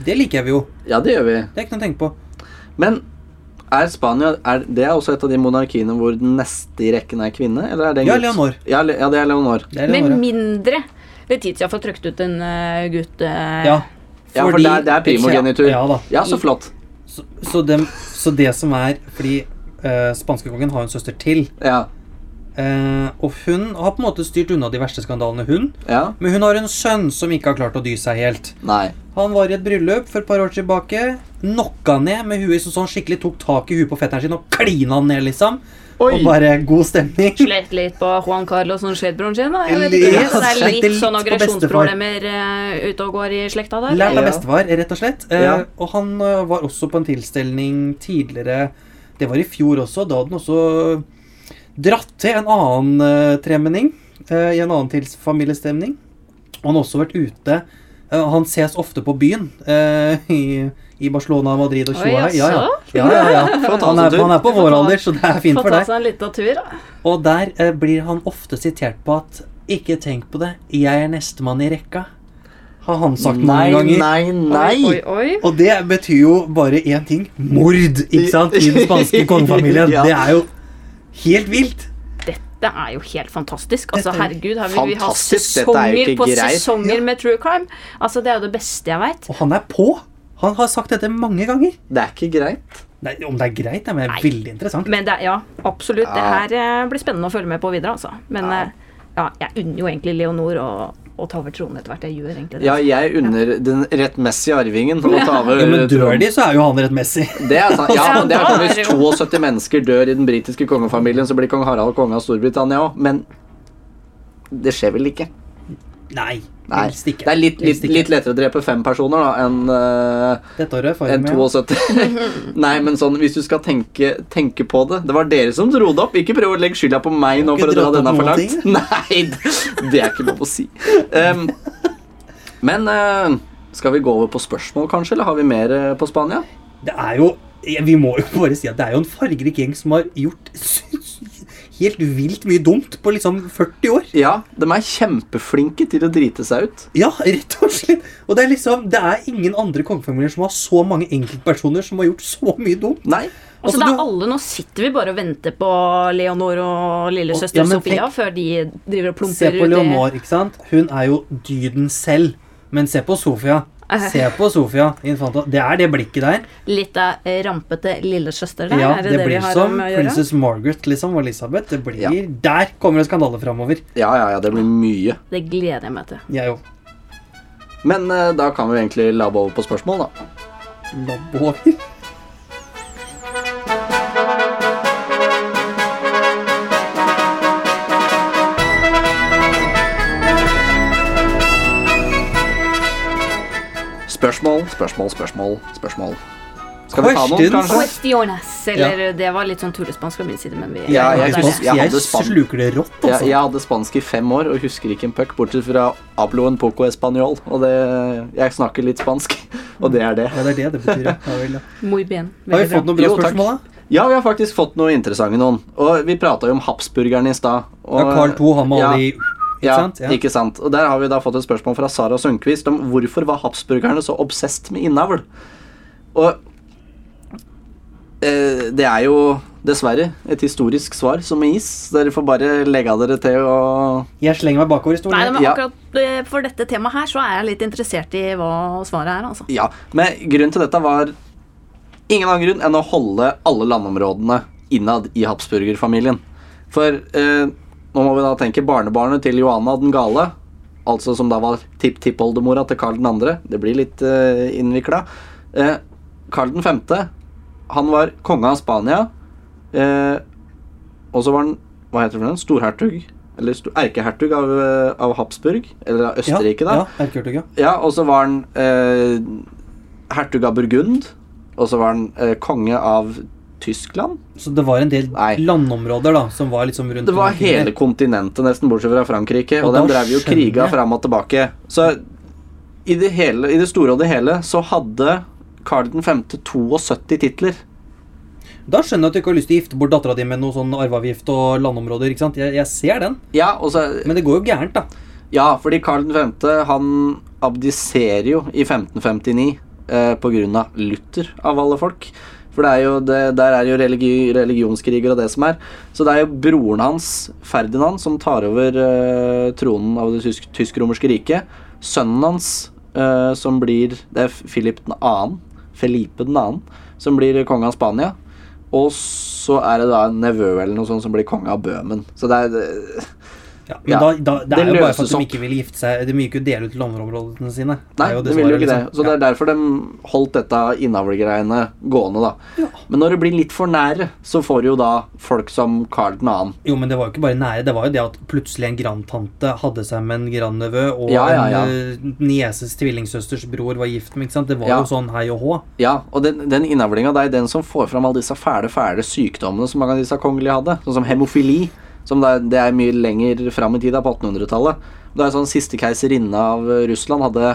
Speaker 2: Det liker vi jo.
Speaker 1: Ja, det gjør vi.
Speaker 2: Det er ikke noe å tenke på.
Speaker 1: Men er Spania er Det er også et av de monarkiene hvor den neste i rekken er kvinne? Eller er det en
Speaker 2: Ja,
Speaker 1: gutt?
Speaker 2: Leonor.
Speaker 1: Ja, Le- ja, det er Leonor.
Speaker 2: Det er
Speaker 3: Med
Speaker 2: Leonora.
Speaker 3: mindre Letitia får trykt ut en eh, gutt eh,
Speaker 2: Ja.
Speaker 1: Ja, for
Speaker 2: Fordi-
Speaker 1: det er, det er primogenitur.
Speaker 2: Ja, da.
Speaker 1: Ja, så flott.
Speaker 2: Så, så, dem, så det som er Fordi uh, spanskekongen har jo en søster til.
Speaker 1: Ja.
Speaker 2: eh, og hun har på en måte styrt unna de verste skandalene, hun.
Speaker 1: ja.
Speaker 2: Men hun har en sønn som ikke har klart å dy seg helt.
Speaker 1: Nei.
Speaker 2: Han var i et bryllup for et par år tilbake. Knocka han ned med huet så sånn skikkelig tok tak i huet på fetteren sin og klina han ned, liksom.
Speaker 1: Oi.
Speaker 2: Og bare god stemning.
Speaker 3: Slet litt på Juan Carlos og skjedbroren sin. da. Jeg vet ikke,
Speaker 2: Ja,
Speaker 3: så det er
Speaker 2: slekte
Speaker 3: litt
Speaker 2: litt
Speaker 3: sånn
Speaker 2: på
Speaker 3: aggresjonsproblemer eh, ute og går i slekta der.
Speaker 2: Lært av
Speaker 1: Ja.
Speaker 2: bestefar, rett og slett. Eh,
Speaker 1: Ja.
Speaker 2: Og han eh, var også på en tilstelning tidligere Det var i fjor også. Da hadde han også dratt til en annen eh, tremenning eh, i en annen tils- familiestemning. Og han har også vært ute eh, Han ses ofte på byen eh, i, i Barcelona, Madrid og
Speaker 3: Oi,
Speaker 2: Chihuahua. Ja, ja.
Speaker 3: jaså?
Speaker 2: Ja, ja, ja.
Speaker 1: Få ta
Speaker 2: Han,
Speaker 1: seg en
Speaker 2: er,
Speaker 1: tur.
Speaker 2: han er på
Speaker 3: Få
Speaker 2: vår
Speaker 3: ta-
Speaker 2: alder, så det er fint
Speaker 3: Få
Speaker 2: for
Speaker 3: ta
Speaker 2: deg.
Speaker 3: seg en liten tur, da.
Speaker 2: Og der eh, blir han ofte sitert på at Ikke tenk på det, jeg er nestemann i rekka. Har han sagt
Speaker 1: Nei,
Speaker 2: mange ganger.
Speaker 1: nei, nei.
Speaker 3: Oi, oi, oi.
Speaker 2: Og det betyr jo bare én ting. Mord, ikke sant? I den spanske kongefamilien.
Speaker 1: Ja.
Speaker 2: Det er jo helt vilt.
Speaker 3: Dette er jo helt fantastisk. Altså,
Speaker 2: Dette er
Speaker 3: herregud, her vil vi ha
Speaker 1: fantastisk. Dette er jo
Speaker 3: sesonger
Speaker 1: ikke
Speaker 3: på
Speaker 1: greit.
Speaker 3: sesonger med true crime. Altså, Det er jo det beste jeg veit.
Speaker 2: Og han er på. Han har sagt dette mange ganger.
Speaker 1: Det er ikke greit.
Speaker 2: Nei, om det er greit, det er men
Speaker 3: Nei.
Speaker 2: veldig interessant.
Speaker 3: Men det er, ja, absolutt. Det
Speaker 1: Ja.
Speaker 3: her eh, blir spennende å følge med på videre, altså. Men
Speaker 1: Ja.
Speaker 3: eh, ja, jeg unner jo egentlig Leonor å, å ta over tronen etter hvert. Jeg gjør egentlig det.
Speaker 1: Ja, jeg unner den rettmessige arvingen å ta over
Speaker 2: Ja, men dør
Speaker 1: tronen.
Speaker 2: de, så er jo han rettmessig.
Speaker 1: Det er sant. Ja, men det er
Speaker 3: Ja,
Speaker 1: sånn
Speaker 3: da er
Speaker 1: hvis
Speaker 3: det jo-
Speaker 1: 72 mennesker dør i den britiske kongefamilien, så blir kong Harald konge av Storbritannia òg. Men det skjer vel ikke?
Speaker 2: Nei,
Speaker 1: Nei.
Speaker 2: helst ikke.
Speaker 1: Det er litt, litt,
Speaker 2: Helst ikke.
Speaker 1: litt lettere å drepe fem personer da enn eh,
Speaker 2: Dette året får jeg
Speaker 1: enn
Speaker 2: med.
Speaker 1: 72. Nei, men sånn, hvis du skal tenke, tenke på det Det var dere som dro det opp. Ikke prøv å legge skylda på meg nå
Speaker 2: Ikke
Speaker 1: for å dra
Speaker 2: dratt opp
Speaker 1: denne for
Speaker 2: noen
Speaker 1: langt. Nei, det- det er ikke lov å si. Ehm, men eh, skal vi gå over på spørsmål, kanskje? Eller har vi mer eh, på Spania?
Speaker 2: Det er jo ja, Vi må jo bare si at det er jo en fargerik gjeng som har gjort helt vilt mye dumt på liksom 40 år.
Speaker 1: Ja, de er kjempeflinke til å drite seg ut.
Speaker 2: Ja, rett og slett. Og det er liksom, det er ingen andre kongefamilier som har så mange enkeltpersoner som har gjort så mye dumt.
Speaker 1: Nei.
Speaker 3: Altså,
Speaker 2: Altså,
Speaker 3: det
Speaker 2: du-
Speaker 3: er alle, Nå sitter vi bare og venter på Leonor og lillesøster
Speaker 2: Ja, men
Speaker 3: Sofia
Speaker 2: tenk-
Speaker 3: før de driver
Speaker 2: Se
Speaker 3: og plumper
Speaker 2: på
Speaker 3: ut i
Speaker 2: Leonor, ikke sant? Hun er jo dyden selv. Men se på Sofia. Se på Sofia Infanta. Det er det blikket der.
Speaker 3: litt av eh, rampete lillesøster. Der.
Speaker 2: Ja,
Speaker 3: er
Speaker 2: det,
Speaker 3: det det vi
Speaker 2: blir
Speaker 3: har
Speaker 2: som
Speaker 3: om å gjøre?
Speaker 2: Princess Margaret liksom, og Elisabeth. Det blir,
Speaker 1: Ja.
Speaker 2: Der kommer det skandaler framover.
Speaker 1: Ja, ja, ja, det blir mye.
Speaker 3: Det gleder jeg meg til.
Speaker 2: Jeg òg.
Speaker 1: Men eh, da kan vi egentlig labbe over på spørsmål, da.
Speaker 2: Labber.
Speaker 1: Spørsmål, spørsmål, spørsmål, spørsmål. Skal vi ta noen,
Speaker 2: Questions.
Speaker 1: kanskje?
Speaker 3: Questiones. Eller det var litt sånn tullespansk fra min side, men vi
Speaker 1: Ja, jeg
Speaker 3: det er
Speaker 1: synes-
Speaker 3: det.
Speaker 1: jeg
Speaker 2: jeg
Speaker 1: hadde spann.
Speaker 2: sluker det rått,
Speaker 1: Jeg,
Speaker 2: altså.
Speaker 1: jeg hadde spansk i fem år og husker ikke en puck, bortsett fra hablo en poco español. Og det, jeg snakker litt spansk, og det er det.
Speaker 2: Ja, det er det det betyr. Ja. Ja, vel, ja.
Speaker 3: Muy bien.
Speaker 2: Har vi
Speaker 3: Veldig bra.
Speaker 2: fått noen bra
Speaker 1: Jo, takk.
Speaker 2: spørsmål, da?
Speaker 1: Ja, vi har faktisk fått noe interessante noen. Og vi prata jo om habsburgerne i stad. og-
Speaker 2: Ja, Carl 2, han med
Speaker 1: Ja.
Speaker 2: alle de Ikke
Speaker 1: Ja,
Speaker 2: sant? Ja.
Speaker 1: ikke sant. Og der har vi da fått et spørsmål fra Sara Sundquist om hvorfor var habsburgerne så obsesst med innavl? Og eh, det er jo dessverre et historisk svar som med is. Dere får bare legge av dere til og
Speaker 2: Jeg slenger meg bakover i
Speaker 3: Nei,
Speaker 2: stolen.
Speaker 3: men
Speaker 1: Ja.
Speaker 3: akkurat eh, for dette temaet her, så er jeg litt interessert i hva svaret er, altså.
Speaker 1: Ja, men grunnen til dette var ingen annen grunn enn å holde alle landområdene innad i Habsburgerfamilien. For eh, nå må vi da tenke barnebarnet til Johanna den gale, altså som da var tipptippoldemora til Karl 2. Det blir litt eh, innvikla. Eh, Karl 5. Han var konge av Spania. Eh, og så var han hva heter det for noe? Storhertug? Eller sto- erkehertug av, eh, av Habsburg? Eller av Østerrike, da.
Speaker 2: Ja, ja, erkehertug, ja.
Speaker 1: Ja, og så var han eh, hertug av Burgund. Og så var han eh, konge av Tyskland.
Speaker 2: Så det var en del
Speaker 1: Nei.
Speaker 2: landområder da, som var liksom rundt
Speaker 1: Det var
Speaker 2: omkring
Speaker 1: hele
Speaker 2: der.
Speaker 1: kontinentet, nesten bortsett fra Frankrike. Og,
Speaker 2: Og
Speaker 1: de
Speaker 2: da
Speaker 1: drev jo
Speaker 2: skjønner
Speaker 1: kriga
Speaker 2: jeg.
Speaker 1: fram og tilbake. Så i det, hele, i det store og det hele så hadde Karl 5. 72 titler.
Speaker 2: Da skjønner jeg at du ikke har lyst til å gifte bort dattera di med noe sånn arveavgift og landområder. ikke sant? Jeg, jeg ser den,
Speaker 1: Ja, og så
Speaker 2: men det går jo gærent, da.
Speaker 1: Ja, fordi Karl 5. han abdiserer jo i 1559 eh, på grunn av Luther, av alle folk. For det er jo det, der er jo religi religionskriger og det som er. Så det er jo broren hans, Ferdinand, som tar over eh, tronen av det tysk- tysk-romerske riket. Sønnen hans, eh, som blir Det er Philip 2., Felipe 2., som blir konge av Spania. Og så er det da en nevø eller noe sånt som blir konge av Bøhmen. Så det er
Speaker 2: Ja, men
Speaker 1: Ja.
Speaker 2: da, da, det,
Speaker 1: Det
Speaker 2: er jo bare for
Speaker 1: løses
Speaker 2: at de
Speaker 1: opp.
Speaker 2: ikke vil gifte seg De vil jo ikke dele ut landområdene sine.
Speaker 1: Nei,
Speaker 2: er
Speaker 1: det vil jo
Speaker 2: svaret,
Speaker 1: ikke det.
Speaker 2: liksom.
Speaker 1: Så det er derfor de holdt dette innavlgreiene gående, da.
Speaker 2: Ja.
Speaker 1: Men når det blir litt for nære, så får du jo da folk som Carl 2.
Speaker 2: Jo, men det var jo ikke bare nære. Det var jo det at plutselig en grandtante hadde seg med en grandnevø, og
Speaker 1: Ja, ja, ja.
Speaker 2: en eh, nieses tvillingsøsters bror var gift med, ikke sant. Det var
Speaker 1: Ja.
Speaker 2: jo sånn hei og hå.
Speaker 1: Ja, og den, den innavlinga, det er den som får fram alle disse fæle, fæle sykdommene som mange av disse kongelige hadde. Sånn som hemofili, som det er, det er mye lenger fram i tid, da, på 1800-tallet. Det er sånn Siste keiserinne av eh, Russland hadde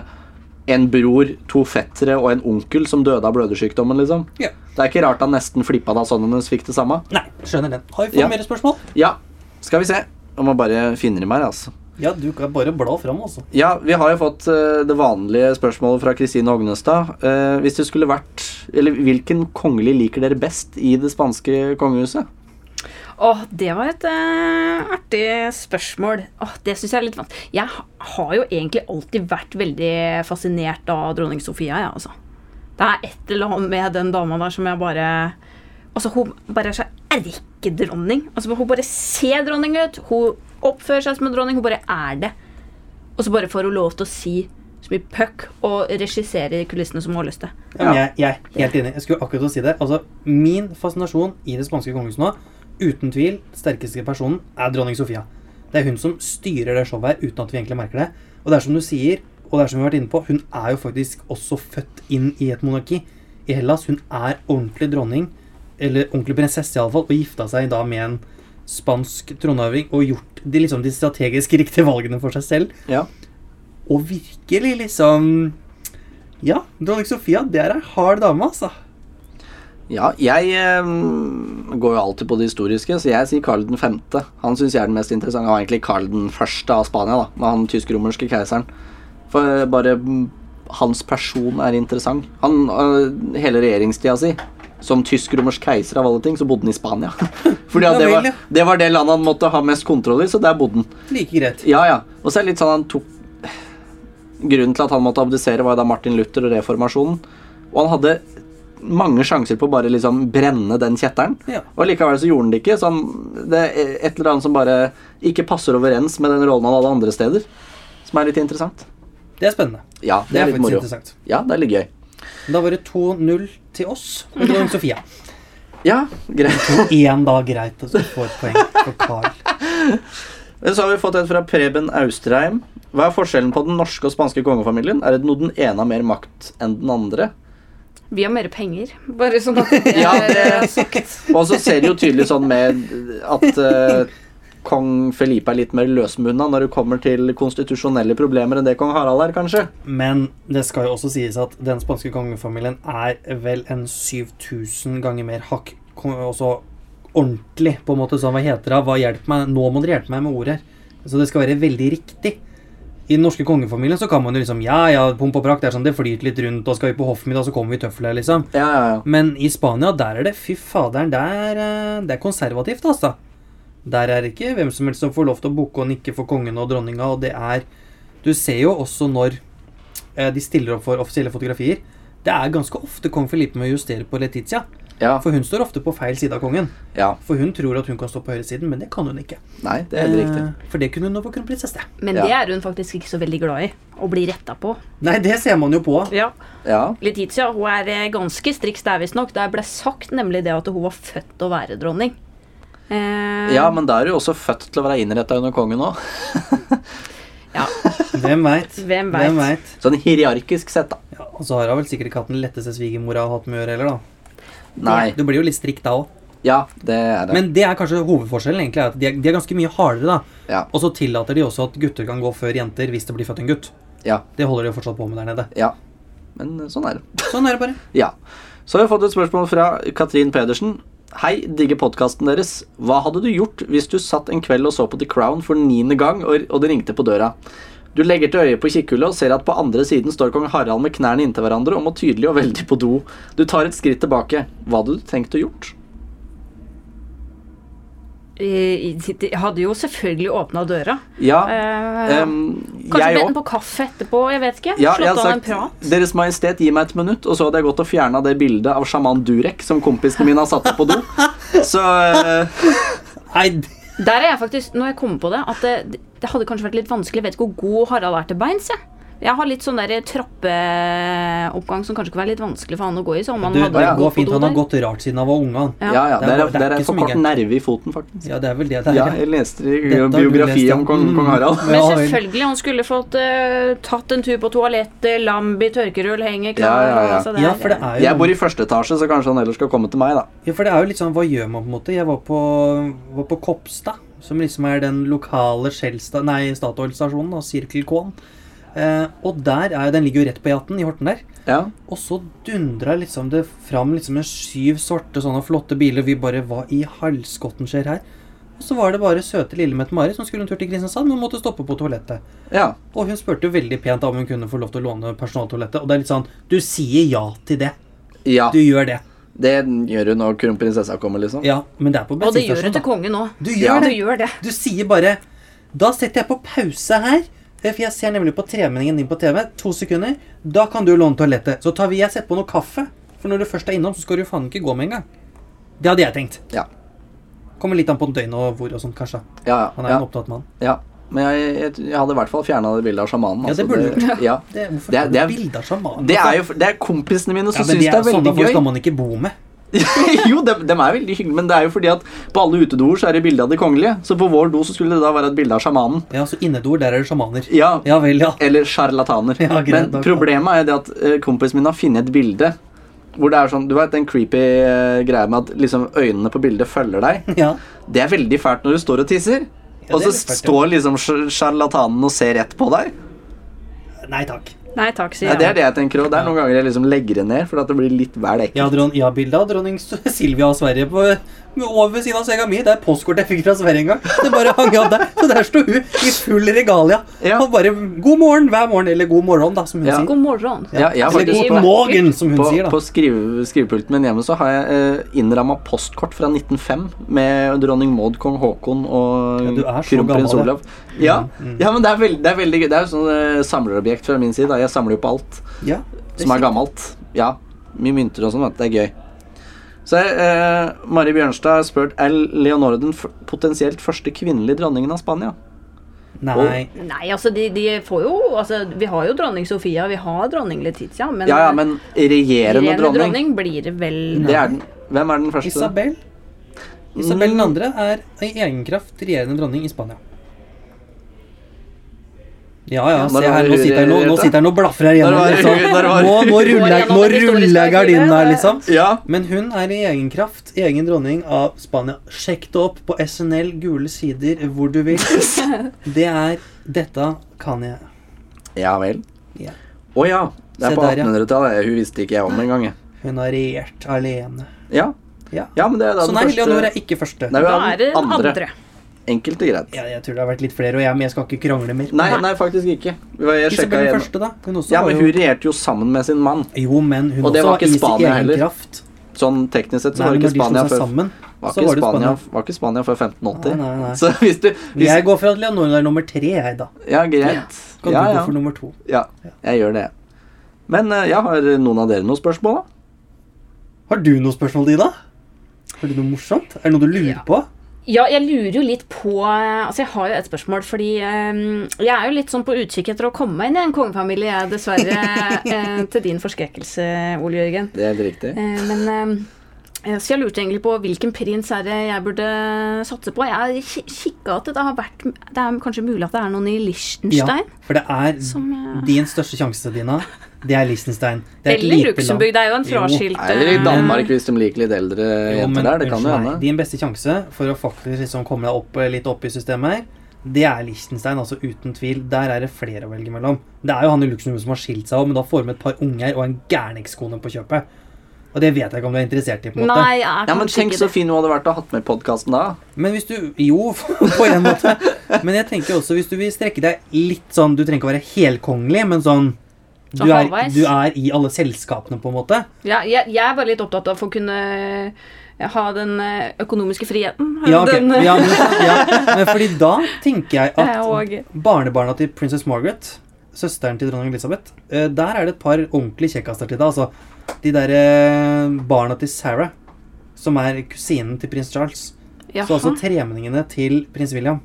Speaker 1: en bror, to fettere og en onkel som døde av blødersykdommen, liksom.
Speaker 2: Ja.
Speaker 1: Det er ikke rart han nesten flippa da sønnen hennes fikk det samme.
Speaker 2: Nei, skjønner den. Har vi fått
Speaker 1: Ja.
Speaker 2: mer spørsmål?
Speaker 1: Ja, skal vi se. Jeg må bare finne dem her, altså.
Speaker 2: Ja, du kan bare bla fram, altså.
Speaker 1: Ja, vi har jo fått eh, det vanlige spørsmålet fra Kristine Hognestad. Eh, hvis det skulle vært Eller hvilken kongelig liker dere best i det spanske kongehuset?
Speaker 3: Åh, det var et eh, artig spørsmål. Åh, det syns jeg er litt vanskelig. Jeg ha- har jo egentlig alltid vært veldig fascinert av dronning Sofia, jeg, altså. Det er et eller annet med den dama der som jeg bare Altså, hun bare er så erkedronning. Altså, hun bare ser dronning ut. Hun oppfører seg som en dronning. Hun bare er det. Og så bare får hun lov til å si så mye puck og regissere i kulissene som hun har lyst til.
Speaker 2: Ja, men jeg, jeg er helt enig. Jeg skulle akkurat til å si det. Altså, min fascinasjon i det spanske kongehuset nå, uten tvil, den sterkeste personen, er dronning Sofia. Det er hun som styrer det showet her, uten at vi egentlig merker det. Og det er som du sier, og det er som vi har vært inne på, hun er jo faktisk også født inn i et monarki i Hellas. Hun er ordentlig dronning, eller ordentlig prinsesse iallfall, og gifta seg da med en spansk tronarving og gjort de, liksom, de strategisk riktige valgene for seg selv.
Speaker 1: Ja.
Speaker 2: Og virkelig liksom Ja, dronning Sofia, det er ei hard dame, altså.
Speaker 1: Ja, jeg eh, går jo alltid på det historiske, så jeg sier Karl 5. Han syns jeg er den mest interessante. Han var egentlig Karl 1. av Spania, da, med han tysk-romerske keiseren. For eh, bare mm, hans person er interessant. Han, eh, hele regjeringstida si, som tysk-romersk keiser av alle ting, så bodde han i Spania. Fordi at
Speaker 2: Ja
Speaker 1: det
Speaker 2: vel,
Speaker 1: var,
Speaker 2: ja.
Speaker 1: det var det landet han måtte ha mest kontroll i, så der bodde han.
Speaker 2: Like greit.
Speaker 1: Ja, ja. Og så er det litt sånn han tok Grunnen til at han måtte abdisere, var jo da Martin Luther og reformasjonen. Og han hadde mange sjanser på å bare liksom brenne den kjetteren.
Speaker 2: Ja.
Speaker 1: Og likevel så gjorde han det ikke. Så han, det er et eller annet som bare ikke passer overens med den rollen han hadde andre steder. Som er litt interessant.
Speaker 2: Det er spennende.
Speaker 1: Ja, det,
Speaker 2: Det er
Speaker 1: er litt
Speaker 2: faktisk
Speaker 1: moro.
Speaker 2: interessant.
Speaker 1: Ja, det er litt gøy.
Speaker 2: Da var det 2-0 til oss og dronning Sofia.
Speaker 1: Ja, greit.
Speaker 2: Igjen da greit at du får et poeng for Carl.
Speaker 1: Men så har vi fått et fra Preben Austrheim. Hva er forskjellen på den norske og spanske kongefamilien? Er det noe den ene har mer makt enn den andre?
Speaker 3: Vi har mer penger, bare sånn at det
Speaker 1: Ja,
Speaker 3: er
Speaker 1: det-
Speaker 3: sagt.
Speaker 1: Og så ser det jo tydelig sånn med at eh, kong Felipe er litt mer løsmunna når det kommer til konstitusjonelle problemer enn det kong Harald er, kanskje.
Speaker 2: Men det skal jo også sies at den spanske kongefamilien er vel en 7000 ganger mer hakk kon- Også ordentlig, på en måte, sånn hva heter det? Hva hjelper meg? Nå må dere hjelpe meg med ord her. Så det skal være veldig riktig. I den norske kongefamilien så kan man jo liksom Ja, ja, pomp og prakt, det er sånn det flyter litt rundt, og skal vi på hoffmiddag, så kommer vi i tøfler, liksom.
Speaker 1: Ja, ja, ja.
Speaker 2: Men i Spania, der er det Fy faderen, der, eh, det er konservativt, altså. Der er det ikke hvem som helst som får lov til å bukke og nikke for kongen og dronninga, og det er Du ser jo også når eh, de stiller opp for offisielle fotografier. Det er ganske ofte kong Felipe med å justere på Letizia.
Speaker 1: Ja,
Speaker 2: For hun står ofte på feil side av kongen.
Speaker 1: ja.
Speaker 2: For hun tror at hun kan stå på høyresiden, men det kan hun ikke.
Speaker 1: Nei, det er helt riktig.
Speaker 2: Eh, For det kunne hun nå på kronprinsesse.
Speaker 3: Men
Speaker 1: Ja.
Speaker 3: det er hun faktisk ikke så veldig glad i. Å bli retta på.
Speaker 2: Nei, det ser man jo på.
Speaker 3: Ja.
Speaker 1: Ja.
Speaker 3: Letizia hun er eh, ganske striks der, visstnok. Det ble sagt nemlig det at hun var født til å være dronning. Eh,
Speaker 1: ja, men da er du jo også født til å være innretta under kongen òg.
Speaker 3: ja.
Speaker 2: Hvem veit?
Speaker 3: Hvem vet?
Speaker 2: vet?
Speaker 1: Sånn hierarkisk sett, da.
Speaker 2: Ja, og så har hun vel sikkert ikke hatt den letteste svigermora hatt med å gjøre, heller, da.
Speaker 1: Nei.
Speaker 2: Du blir jo litt strikt da òg.
Speaker 1: Ja, det er det.
Speaker 2: Men det er kanskje hovedforskjellen. egentlig, er at de er, de er ganske mye hardere. da.
Speaker 1: Ja.
Speaker 2: Og så tillater de også at gutter kan gå før jenter hvis det blir født en gutt.
Speaker 1: Ja.
Speaker 2: Det holder de jo fortsatt på med der nede.
Speaker 1: ja. Men eh, sånn er det.
Speaker 2: Sånn er det bare.
Speaker 1: Ja. Så har vi fått et spørsmål fra Katrin Pedersen. Hei, digger podkasten deres. Hva hadde du gjort hvis du satt en kveld og så på The Crown for niende gang, og, og det ringte på døra? Du legger til øyet på kikkhullet og ser at på andre siden står kong Harald med knærne inntil hverandre og må tydelig og veldig på do. Du tar et skritt tilbake. Hva hadde du tenkt å gjort?
Speaker 3: Eh, de hadde jo selvfølgelig åpna døra.
Speaker 1: Ja,
Speaker 3: Eh,
Speaker 1: em,
Speaker 3: kanskje
Speaker 1: jeg
Speaker 3: bedt
Speaker 1: òg.
Speaker 3: den på kaffe etterpå, jeg vet ikke.
Speaker 1: Ja, jeg
Speaker 3: Slått
Speaker 1: har
Speaker 3: av en
Speaker 1: sagt
Speaker 3: prat.
Speaker 1: Deres Majestet, gi meg et minutt, og så hadde jeg gått og fjerna det bildet av sjaman Durek som kompisene mine har satt opp på do. Så eh,
Speaker 2: Nei, d-
Speaker 3: Der er jeg faktisk, når jeg kommer på det, at det, det hadde kanskje vært litt vanskelig. Jeg vet ikke hvor god Harald er til beins. Jeg. jeg har litt sånn der trappeoppgang som kanskje kunne være litt vanskelig for han å gå i. Så om han
Speaker 2: Du,
Speaker 3: hadde
Speaker 2: det
Speaker 3: vært
Speaker 2: går
Speaker 3: på
Speaker 2: fint.
Speaker 3: do
Speaker 2: Han har
Speaker 3: der.
Speaker 2: gått rart siden han var unge. han.
Speaker 1: Ja, ja.
Speaker 2: Det er
Speaker 1: Det er,
Speaker 2: bare- det er
Speaker 1: det er
Speaker 2: ikke så
Speaker 1: så kort
Speaker 2: mye.
Speaker 1: nerve i foten, faktisk.
Speaker 2: Ja, det er vel det det
Speaker 1: Ja,
Speaker 2: er.
Speaker 1: jeg leste
Speaker 2: Dette har du
Speaker 1: biografi
Speaker 2: lest, ja.
Speaker 1: om kong,
Speaker 2: Mm.
Speaker 1: kong Harald.
Speaker 3: Men
Speaker 2: Ja, vel.
Speaker 3: selvfølgelig, han skulle fått eh, tatt en tur på toalettet, Lambi, tørkerull, henger klar.
Speaker 1: Ja, ja, ja.
Speaker 3: Altså, det
Speaker 2: Ja,
Speaker 3: er-
Speaker 2: for det er jo
Speaker 1: Jeg bor i første etasje, så kanskje han ellers skal komme til meg, da.
Speaker 2: Ja, for det er jo litt sånn, hva gjør man på en måte? Jeg var på, var på Kopstad, som liksom er den lokale Skjelsta- nei, Statoil-stasjonen, da, Cirkel K-en. Eh, og der er, den ligger jo rett på E18 i Horten der.
Speaker 1: Ja.
Speaker 2: Og så dundra liksom det fram liksom en syv sorte sånne flotte biler. Vi bare Hva i halskotten skjer her? Og så var det bare søte lille Mette-Mari som skulle en tur til Kristiansand, men måtte stoppe på toalettet.
Speaker 1: ja.
Speaker 2: Og hun spurte jo veldig pent om hun kunne få lov til å låne personaltoalettet. Og det er litt sånn Du sier ja til det.
Speaker 1: Ja,
Speaker 2: Du gjør det.
Speaker 1: det gjør hun når kronprinsessa kommer, liksom.
Speaker 2: Ja, men det er på
Speaker 3: Og det gjør du
Speaker 2: bensinstasjonen.
Speaker 3: til
Speaker 2: da.
Speaker 3: kongen òg.
Speaker 2: Du
Speaker 1: Ja.
Speaker 2: gjør
Speaker 3: Du
Speaker 2: det.
Speaker 3: gjør det.
Speaker 2: Du sier bare Da setter jeg på pause her. eh, For jeg ser nemlig på tremenningen din på TV. To sekunder. Da kan du låne toalettet. Så tar vi jeg setter på noe kaffe. For når du først er innom, så skal du faen ikke gå med en gang. Det hadde jeg tenkt.
Speaker 1: Ja.
Speaker 2: Kommer litt an på døgnet og hvor og sånt, kanskje.
Speaker 1: Ja,
Speaker 2: Han er
Speaker 1: ja,
Speaker 2: en opptatt mann.
Speaker 1: ja. Men jeg, jeg, jeg hadde i hvert fall fjerna det bildet av sjamanen. altså.
Speaker 2: Ja, det burde du
Speaker 1: det, ja.
Speaker 2: Det, hvorfor
Speaker 1: Det er-
Speaker 2: har
Speaker 1: det er-
Speaker 2: du bilde av sjamanen?
Speaker 1: det er jo det er kompisene mine som
Speaker 2: ja, men
Speaker 1: syns
Speaker 2: de
Speaker 1: det
Speaker 2: er, sånn,
Speaker 1: er veldig
Speaker 2: sånne folk skal
Speaker 1: gøy.
Speaker 2: man ikke bo med.
Speaker 1: jo, dem, dem er veldig hyggelige, men det er jo fordi at på alle utedoer så er det bilde av de kongelige. Så på vår do så skulle det da være et bilde av sjamanen.
Speaker 2: Ja, så Innedor, der er det sjamaner.
Speaker 1: Ja,
Speaker 2: Ja vel, ja.
Speaker 1: Eller sjarlataner.
Speaker 2: Ja,
Speaker 1: Men
Speaker 2: greit, da-
Speaker 1: problemet er det at eh, kompisen min har funnet et bilde hvor det er sånn, du vet den creepy eh, greia med at liksom øynene på bildet følger deg.
Speaker 2: ja.
Speaker 1: Det er veldig fælt når du står og tisser.
Speaker 2: Ja,
Speaker 1: og
Speaker 2: det er
Speaker 1: så
Speaker 2: litt fælt, ja.
Speaker 1: står liksom sj- sjarlatanen og ser rett på deg.
Speaker 2: Nei takk.
Speaker 3: Nei takk, sier
Speaker 1: Nei, det er
Speaker 3: jeg.
Speaker 1: det jeg tenker også. Det er noen ganger jeg liksom legger det ned, for at det blir litt vel ekkelt.
Speaker 2: Ja, dron ja bildet av dronning S- Silvia av Sverige på, med over ved siden av senga mi. Det er postkort jeg fikk fra Sverige en gang. Det bare hang av der. Så der sto hun i full regalia.
Speaker 1: Ja.
Speaker 2: Og bare 'god morgen' hver morgen. Eller 'god morgen', da, som hun
Speaker 1: Ja.
Speaker 2: sier.
Speaker 3: God morgen. Altså,
Speaker 1: Ja, jeg har
Speaker 2: Eller
Speaker 1: faktisk-
Speaker 2: 'god morgen', som hun
Speaker 1: På,
Speaker 2: sier, da.
Speaker 1: på skrive, skrivepulten min hjemme så har jeg eh, innramma postkort fra 1905 med dronning Maud, kong Haakon og
Speaker 2: Ja, Mm, du er så
Speaker 1: kronprins
Speaker 2: gammel,
Speaker 1: Olav. Ja, ja, men det er, veld, det er veldig gøy. Det er jo sånn eh, samlerobjekt fra min side. da. Jeg samler jo på alt
Speaker 2: Ja, det
Speaker 1: som er
Speaker 2: sier-
Speaker 1: gammelt. Ja, Mye mynter og sånn. vet du. Det er gøy. Så eh, Mari Bjørnstad har spurt er Leonore den f potensielt første kvinnelige dronningen av Spania.
Speaker 2: Nei.
Speaker 1: Mm.
Speaker 3: Nei, altså, de, de får jo altså, Vi har jo dronning Sofia, vi har dronning Letizia, men,
Speaker 1: Ja, ja, men regjerende
Speaker 3: regjerende
Speaker 1: dronning,
Speaker 3: dronning blir det vel
Speaker 1: det er den. Hvem er den første?
Speaker 2: Isabel Isabel den andre er i egenkraft regjerende dronning i Spania. Ja, ja, se her, nå sitter jeg nå, nå sitter jeg nå og blafrer her igjen. Liksom. Nå, nå ruller jeg, nå ruller jeg gardinen her, liksom.
Speaker 1: Ja,
Speaker 2: Men hun er i egen kraft, egen dronning av Spania. Sjekk det opp på SNL, gule sider, hvor du vil. Det er Dette kan jeg.
Speaker 1: ja vel.
Speaker 2: Ja.
Speaker 1: Å ja. Det er
Speaker 2: Se
Speaker 1: på
Speaker 2: der, ja.
Speaker 1: 1800-tallet. Hun visste ikke jeg om engang. jeg.
Speaker 2: Hun har regjert alene.
Speaker 1: Ja.
Speaker 2: Ja.
Speaker 1: ja, men det er da
Speaker 2: Så nei,
Speaker 1: den
Speaker 2: Leonor
Speaker 1: første
Speaker 2: Sånn er ikke første.
Speaker 1: Nei, vi
Speaker 3: Da
Speaker 1: har
Speaker 3: er det
Speaker 1: den
Speaker 3: den
Speaker 1: andre.
Speaker 3: andre.
Speaker 1: Enkelt og greit.
Speaker 2: Ja, jeg tror det har vært litt flere, og jeg, men jeg skal ikke krangle mer.
Speaker 1: Nei, nei, faktisk ikke. Jeg sjekka
Speaker 2: Isabel den
Speaker 1: igjen.
Speaker 2: første, da. Hun også
Speaker 1: Ja,
Speaker 2: var
Speaker 1: men
Speaker 2: jo
Speaker 1: hun regjerte jo sammen med sin mann.
Speaker 2: Jo, men hun
Speaker 1: Og det
Speaker 2: også
Speaker 1: var
Speaker 2: var
Speaker 1: ikke
Speaker 2: i sin
Speaker 1: Spania
Speaker 2: egen
Speaker 1: heller.
Speaker 2: kraft.
Speaker 1: Sånn teknisk sett så
Speaker 2: Nei,
Speaker 1: var
Speaker 2: men
Speaker 1: ikke
Speaker 2: når de slo
Speaker 1: Spania
Speaker 2: seg
Speaker 1: før
Speaker 2: sammen,
Speaker 1: var
Speaker 2: så
Speaker 1: ikke
Speaker 2: var det
Speaker 1: Spania,
Speaker 2: Spania.
Speaker 1: var ikke Spania før 1580.
Speaker 2: Nei, nei, nei.
Speaker 1: Så hvis du hvis,
Speaker 2: Jeg går for at Leonor er nummer tre, jeg, da.
Speaker 1: Ja, greit.
Speaker 2: Kan
Speaker 1: Ja,
Speaker 2: du gå
Speaker 1: ja.
Speaker 2: for nummer to?
Speaker 1: ja, jeg gjør det. Men eh, ja, har noen av dere noen spørsmål, da?
Speaker 2: Har du noe spørsmål, Dina? Har du noe morsomt? Er det noe du lurer på?
Speaker 3: Ja, jeg lurer jo litt på eh, Altså, jeg har jo et spørsmål, fordi eh, jeg er jo litt sånn på utkikk etter å komme meg inn i en kongefamilie, jeg, dessverre. eh, til din forskrekkelse, Ole Jørgen.
Speaker 1: Det er helt riktig.
Speaker 3: Eh, men eh, Så jeg lurte egentlig på hvilken prins er det jeg burde satse på. Jeg har ki- kikket at det har vært Det er kanskje mulig at det er noen i Liechtenstein?
Speaker 2: for det er
Speaker 3: Som, eh,
Speaker 2: din største sjanse, Dina. Det er Liechtenstein. Det er et
Speaker 3: Eller
Speaker 2: lite land.
Speaker 3: Luxembourg. Det er jo en
Speaker 2: Jo.
Speaker 3: fraskilt
Speaker 1: Eller i
Speaker 3: eh,
Speaker 1: Danmark, hvis de liker litt eldre
Speaker 2: Jo, men
Speaker 1: jenter der. Det kan jo
Speaker 2: unnskyld meg,
Speaker 1: hende.
Speaker 2: Din beste sjanse for å faktisk liksom komme deg opp, eh, litt opp i systemet her, det er Liechtenstein, altså uten tvil. Der er det flere å velge mellom. Det er jo han i Luxembourg som har skilt seg òg, men da får med et par unger og en gærningskone på kjøpet. Og det vet jeg ikke om du er interessert i. på en måte.
Speaker 3: Nei, jeg er
Speaker 1: Ja, men
Speaker 3: kanskje
Speaker 1: tenk
Speaker 3: ikke
Speaker 1: så
Speaker 3: det.
Speaker 1: fin hun hadde vært å ha hatt med i podkasten da.
Speaker 2: Men hvis du Jo, på en måte. Men jeg tenker også hvis du vil strekke deg litt sånn Du trenger ikke å være helkongelig, men sånn du
Speaker 3: Så
Speaker 2: er,
Speaker 3: halvveis?
Speaker 2: du er i alle selskapene, på en måte.
Speaker 3: Ja, jeg, jeg er bare litt opptatt av å kunne eh, ha den eh, økonomiske friheten.
Speaker 2: Ja, ok.
Speaker 3: Den, eh,
Speaker 2: ja, men, ja. men fordi da tenker jeg
Speaker 3: Jeg
Speaker 2: at
Speaker 3: og-
Speaker 2: barnebarna til prinsesse Margaret, søsteren til dronning Elisabeth eh, Der er det et par ordentlige kjekkaser til deg. eh, Altså, de derre barna til Sarah, som er kusinen til prins Charles.
Speaker 3: Jaha.
Speaker 2: Så altså tremenningene til prins William.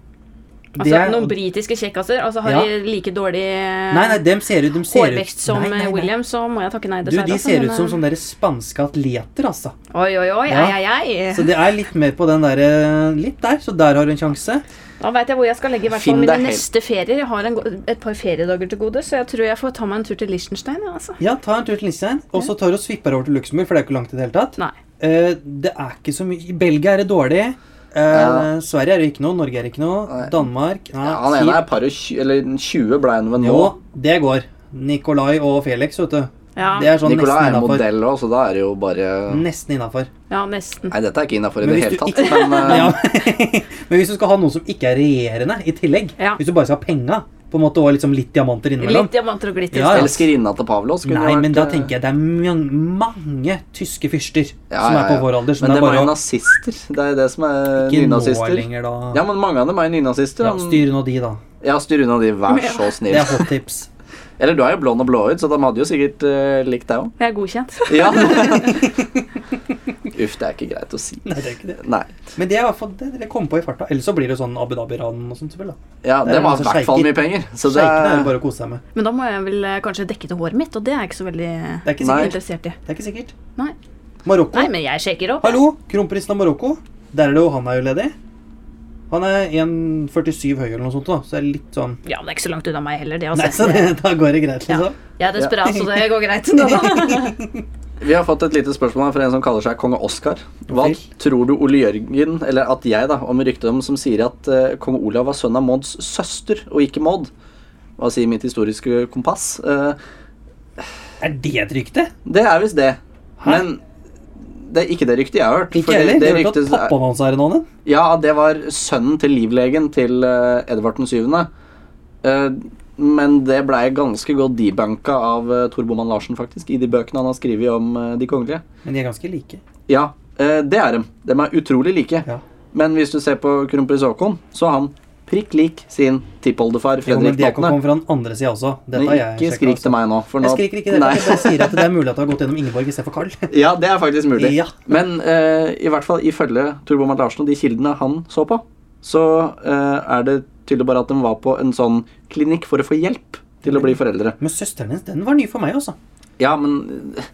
Speaker 2: Det
Speaker 3: Altså,
Speaker 2: er-
Speaker 3: noen britiske kjekkaser. Altså, har de like dårlig eh,
Speaker 2: Nei, nei, dem ser ut, dem ser ut.
Speaker 3: hårvekst som eh,
Speaker 2: Nei, nei, nei.
Speaker 3: William, så må jeg takke nei,
Speaker 2: Du,
Speaker 3: dessverre.
Speaker 2: de
Speaker 3: altså,
Speaker 2: ser
Speaker 3: men,
Speaker 2: ut som
Speaker 3: eh,
Speaker 2: sånne der spanske atleter, altså.
Speaker 3: Oi, oi, oi,
Speaker 2: Ja.
Speaker 3: ei, ei, ei.
Speaker 2: Så det er litt mer på den derre Litt der, så der har du en sjanse.
Speaker 3: Da veit jeg hvor jeg skal legge i hvert fall
Speaker 1: Finn
Speaker 3: mine
Speaker 1: deg helt.
Speaker 3: neste ferier. Jeg har en, go- et par feriedager til gode, så jeg tror jeg får ta meg en tur til Liechtenstein. Ja, altså.
Speaker 2: Ja, ta en tur til Liechtenstein, og så tar du og svipper over til Luxembourg, for det er jo ikke langt i det hele tatt.
Speaker 3: Nei.
Speaker 2: Eh, det er ikke så mye I Belgia er det dårlig. Eh,
Speaker 1: Ja.
Speaker 2: Sverige er det ikke noe. Norge er det ikke noe.
Speaker 1: Nei.
Speaker 2: Danmark Nei,
Speaker 1: Ja, han ene er par og tjue, eller 20 ble han vel nå.
Speaker 2: Jo, det går. Nikolai og Felix, vet du.
Speaker 3: Ja,
Speaker 2: Det er sånn
Speaker 1: Nicolai er en
Speaker 2: nesten innafor.
Speaker 1: modell òg, så da er det jo bare
Speaker 2: Nesten innafor.
Speaker 3: ja nesten.
Speaker 1: Nei, dette er ikke innafor i
Speaker 2: Men
Speaker 1: det
Speaker 2: hvis
Speaker 1: hele
Speaker 2: du
Speaker 1: tatt, men eh,
Speaker 2: Ja. Men hvis du skal ha noen som ikke er regjerende i tillegg,
Speaker 3: Ja.
Speaker 2: hvis du bare skal ha penga, på en måte, og liksom litt diamanter innimellom
Speaker 3: Litt diamanter og glitter.
Speaker 2: Ja, ja.
Speaker 1: Elskerinna til Pavlos kunne
Speaker 2: Nei,
Speaker 1: vært
Speaker 2: men da
Speaker 1: eh,
Speaker 2: tenker jeg det er mange, mange tyske fyrster
Speaker 1: ja,
Speaker 2: som er
Speaker 1: ja,
Speaker 2: på
Speaker 1: ja.
Speaker 2: vår alder. Som
Speaker 1: Men
Speaker 2: det
Speaker 1: det
Speaker 2: er
Speaker 1: var
Speaker 2: bare
Speaker 1: jo
Speaker 2: å
Speaker 1: nazister. Det er jo det som er
Speaker 2: ikke nå
Speaker 1: nynazister.
Speaker 2: lenger, da.
Speaker 1: Ja, men sånn- mange av dem er jo nynazister.
Speaker 2: Ja,
Speaker 1: da.
Speaker 2: styr nå de, da.
Speaker 1: Ja, styr unna de, vær så
Speaker 2: Det
Speaker 1: snill.
Speaker 2: er hot tips.
Speaker 1: Eller du er jo blond og blåøyd, så de hadde jo sikkert eh, likt deg òg.
Speaker 3: Jeg er godkjent.
Speaker 1: Ja. Uff, det er ikke greit å si.
Speaker 2: Nei, det er ikke det.
Speaker 1: Nei.
Speaker 2: Men det er i hvert fall det dere kom på i farta. Ellers så blir det sånn Abu Dhabi-ran og sånt. selvfølgelig. da.
Speaker 1: Ja,
Speaker 2: Det
Speaker 1: det, var
Speaker 2: er
Speaker 1: i
Speaker 2: masse
Speaker 1: hvert fall
Speaker 2: sjeiker.
Speaker 1: mye penger. Så det
Speaker 2: Sjeikene er det
Speaker 1: er,
Speaker 2: bare å kose seg med.
Speaker 3: Men da må jeg vel eh, kanskje dekke til håret mitt, og det er jeg ikke så veldig
Speaker 2: Det er ikke
Speaker 1: Nei.
Speaker 2: sikkert.
Speaker 3: interessert i.
Speaker 2: Det er ikke sikkert.
Speaker 3: Nei.
Speaker 2: Marokko.
Speaker 3: Nei, men jeg sjekker opp.
Speaker 2: Hallo, kronprinsen av Marokko. Der er det jo han er jo ledig. Han er 1,47 høy eller noe sånt, da, så det er litt sånn
Speaker 3: Ja, men det er ikke så langt unna meg heller, det.
Speaker 2: Nei, så
Speaker 3: Altså.
Speaker 2: det, da går det greit,
Speaker 3: Ja.
Speaker 2: liksom.
Speaker 3: Jeg er desperat, så det går greit. Da, da.
Speaker 1: vi har fått et lite spørsmål her fra en som kaller seg konge Oskar. Hva
Speaker 2: Vel.
Speaker 1: tror du Ole Jørgen, eller at jeg, da, om ryktet om som sier at eh, kong Olav var sønn av Mauds søster og ikke Maud? Hva sier mitt historiske kompass? Eh,
Speaker 2: Er det et rykte?
Speaker 1: det er visst det.
Speaker 2: Hæ?
Speaker 1: Men det er ikke det ryktet jeg har hørt.
Speaker 2: Ikke
Speaker 1: fordi
Speaker 2: heller.
Speaker 1: det
Speaker 2: Det hørte
Speaker 1: ryktet-
Speaker 2: at pappaen hans er en annen.
Speaker 1: Ja, det var sønnen til livlegen til eh, Edvard 7. men det blei ganske godt debunka av uh, Tor Boman Larsen, faktisk, i de bøkene han har skrevet om eh, de kongelige.
Speaker 2: Men de er ganske like.
Speaker 1: Ja, eh, det er dem. De er utrolig like.
Speaker 2: Ja.
Speaker 1: Men hvis du ser på kronprins Haakon, så er han prikk lik sin tippoldefar
Speaker 2: Jo, men
Speaker 1: Fredrik
Speaker 2: det kan
Speaker 1: 8.
Speaker 2: komme fra den andre sida også. Dette
Speaker 1: Men
Speaker 2: har jeg
Speaker 1: ikke
Speaker 2: sjekket,
Speaker 1: skrik
Speaker 2: altså.
Speaker 1: til meg nå. For nå
Speaker 2: Jeg skriker ikke det,
Speaker 1: Nei.
Speaker 2: jeg bare sier at det er mulig at det har gått gjennom Ingeborg istedenfor Carl.
Speaker 1: Ja, det er faktisk mulig.
Speaker 2: Ja.
Speaker 1: Men eh, i hvert fall ifølge Tor Boman Larsen og de kildene han så på, så eh, er det tydelig bare at de var på en sånn klinikk for å få hjelp til å bli foreldre.
Speaker 2: Men søsteren hennes, den var ny for meg, altså.
Speaker 1: Ja, men eh,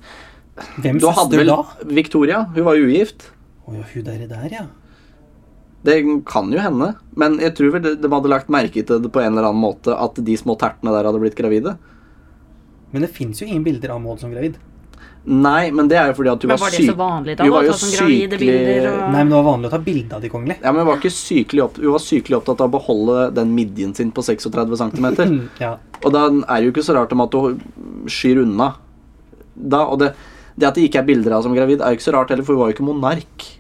Speaker 2: Hvem
Speaker 1: du hadde
Speaker 2: søster
Speaker 1: vel
Speaker 2: da?
Speaker 1: Victoria? Hun var jo ugift.
Speaker 2: Å ja, hun der, der, ja.
Speaker 1: Det kan jo hende, men jeg tror vel de de hadde lagt merke til det på en eller annen måte at de små tertene der hadde blitt gravide.
Speaker 2: Men det fins jo ingen bilder av Maud som gravid.
Speaker 1: Nei, men det er jo fordi at hun
Speaker 3: Men
Speaker 1: var
Speaker 3: var det
Speaker 1: syk.
Speaker 3: så vanlig da?
Speaker 1: Hun var
Speaker 3: å
Speaker 1: jo
Speaker 3: ta sånn gravide bilder og...
Speaker 2: Nei, men det var vanlig å ta bilde av de kongelige.
Speaker 1: Ja, men hun var, ikke sykelig opp... hun var sykelig opptatt av å beholde den midjen sin på 36 cm.
Speaker 2: Mm, Ja.
Speaker 1: Og da er det jo ikke så rart om at hun skyr unna. Da, og det, det at det ikke er bilder av henne som gravid, er jo ikke så rart heller, for hun var jo ikke monark.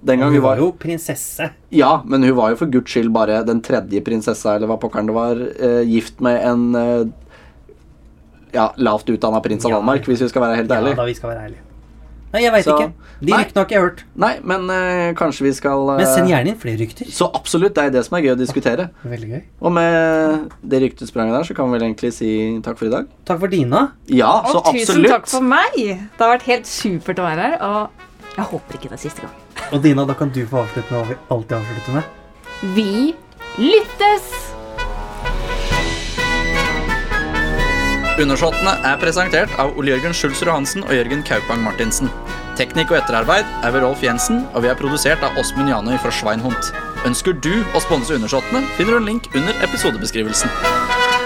Speaker 1: Den gang
Speaker 2: Hun
Speaker 1: hun
Speaker 2: var
Speaker 1: var
Speaker 2: jo prinsesse.
Speaker 1: Ja, men hun var jo for guds skyld bare den tredje prinsessa, eller hva pokkeren det var, eh, gift med en eh, ja, lavt utdanna prins av
Speaker 2: Ja.
Speaker 1: Danmark, hvis vi skal være helt
Speaker 2: Ja,
Speaker 1: ærlige.
Speaker 2: da vi skal være ærlige. Nei, jeg veit
Speaker 1: Så-
Speaker 2: ikke. De
Speaker 1: Nei.
Speaker 2: ryktene har ikke jeg hørt.
Speaker 1: Nei, men eh, kanskje vi skal eh,
Speaker 2: Men send gjerne inn flere rykter.
Speaker 1: Så absolutt, det er det som er gøy å diskutere.
Speaker 2: Veldig gøy.
Speaker 1: Og med det ryktespranget der, så kan vi vel egentlig si takk for i dag.
Speaker 2: Takk for Dina.
Speaker 1: Ja,
Speaker 3: Og
Speaker 1: så
Speaker 3: tusen takk
Speaker 1: absolutt.
Speaker 3: for meg! Det har vært helt supert å være her, og jeg håper ikke det er siste gang.
Speaker 2: Og Dina, da kan du få avslutte med hva vi alltid avslutter med.
Speaker 3: Vi lyttes!
Speaker 1: Undersåttene er presentert av Ole Jørgen Schulzrud Hansen og Jørgen Kaupang Martinsen. Teknikk og etterarbeid er ved Rolf Jensen, og vi er produsert av Åsmund Janøy fra Schweinhund. Ønsker du å sponse Undersåttene, finner du en link under episodebeskrivelsen.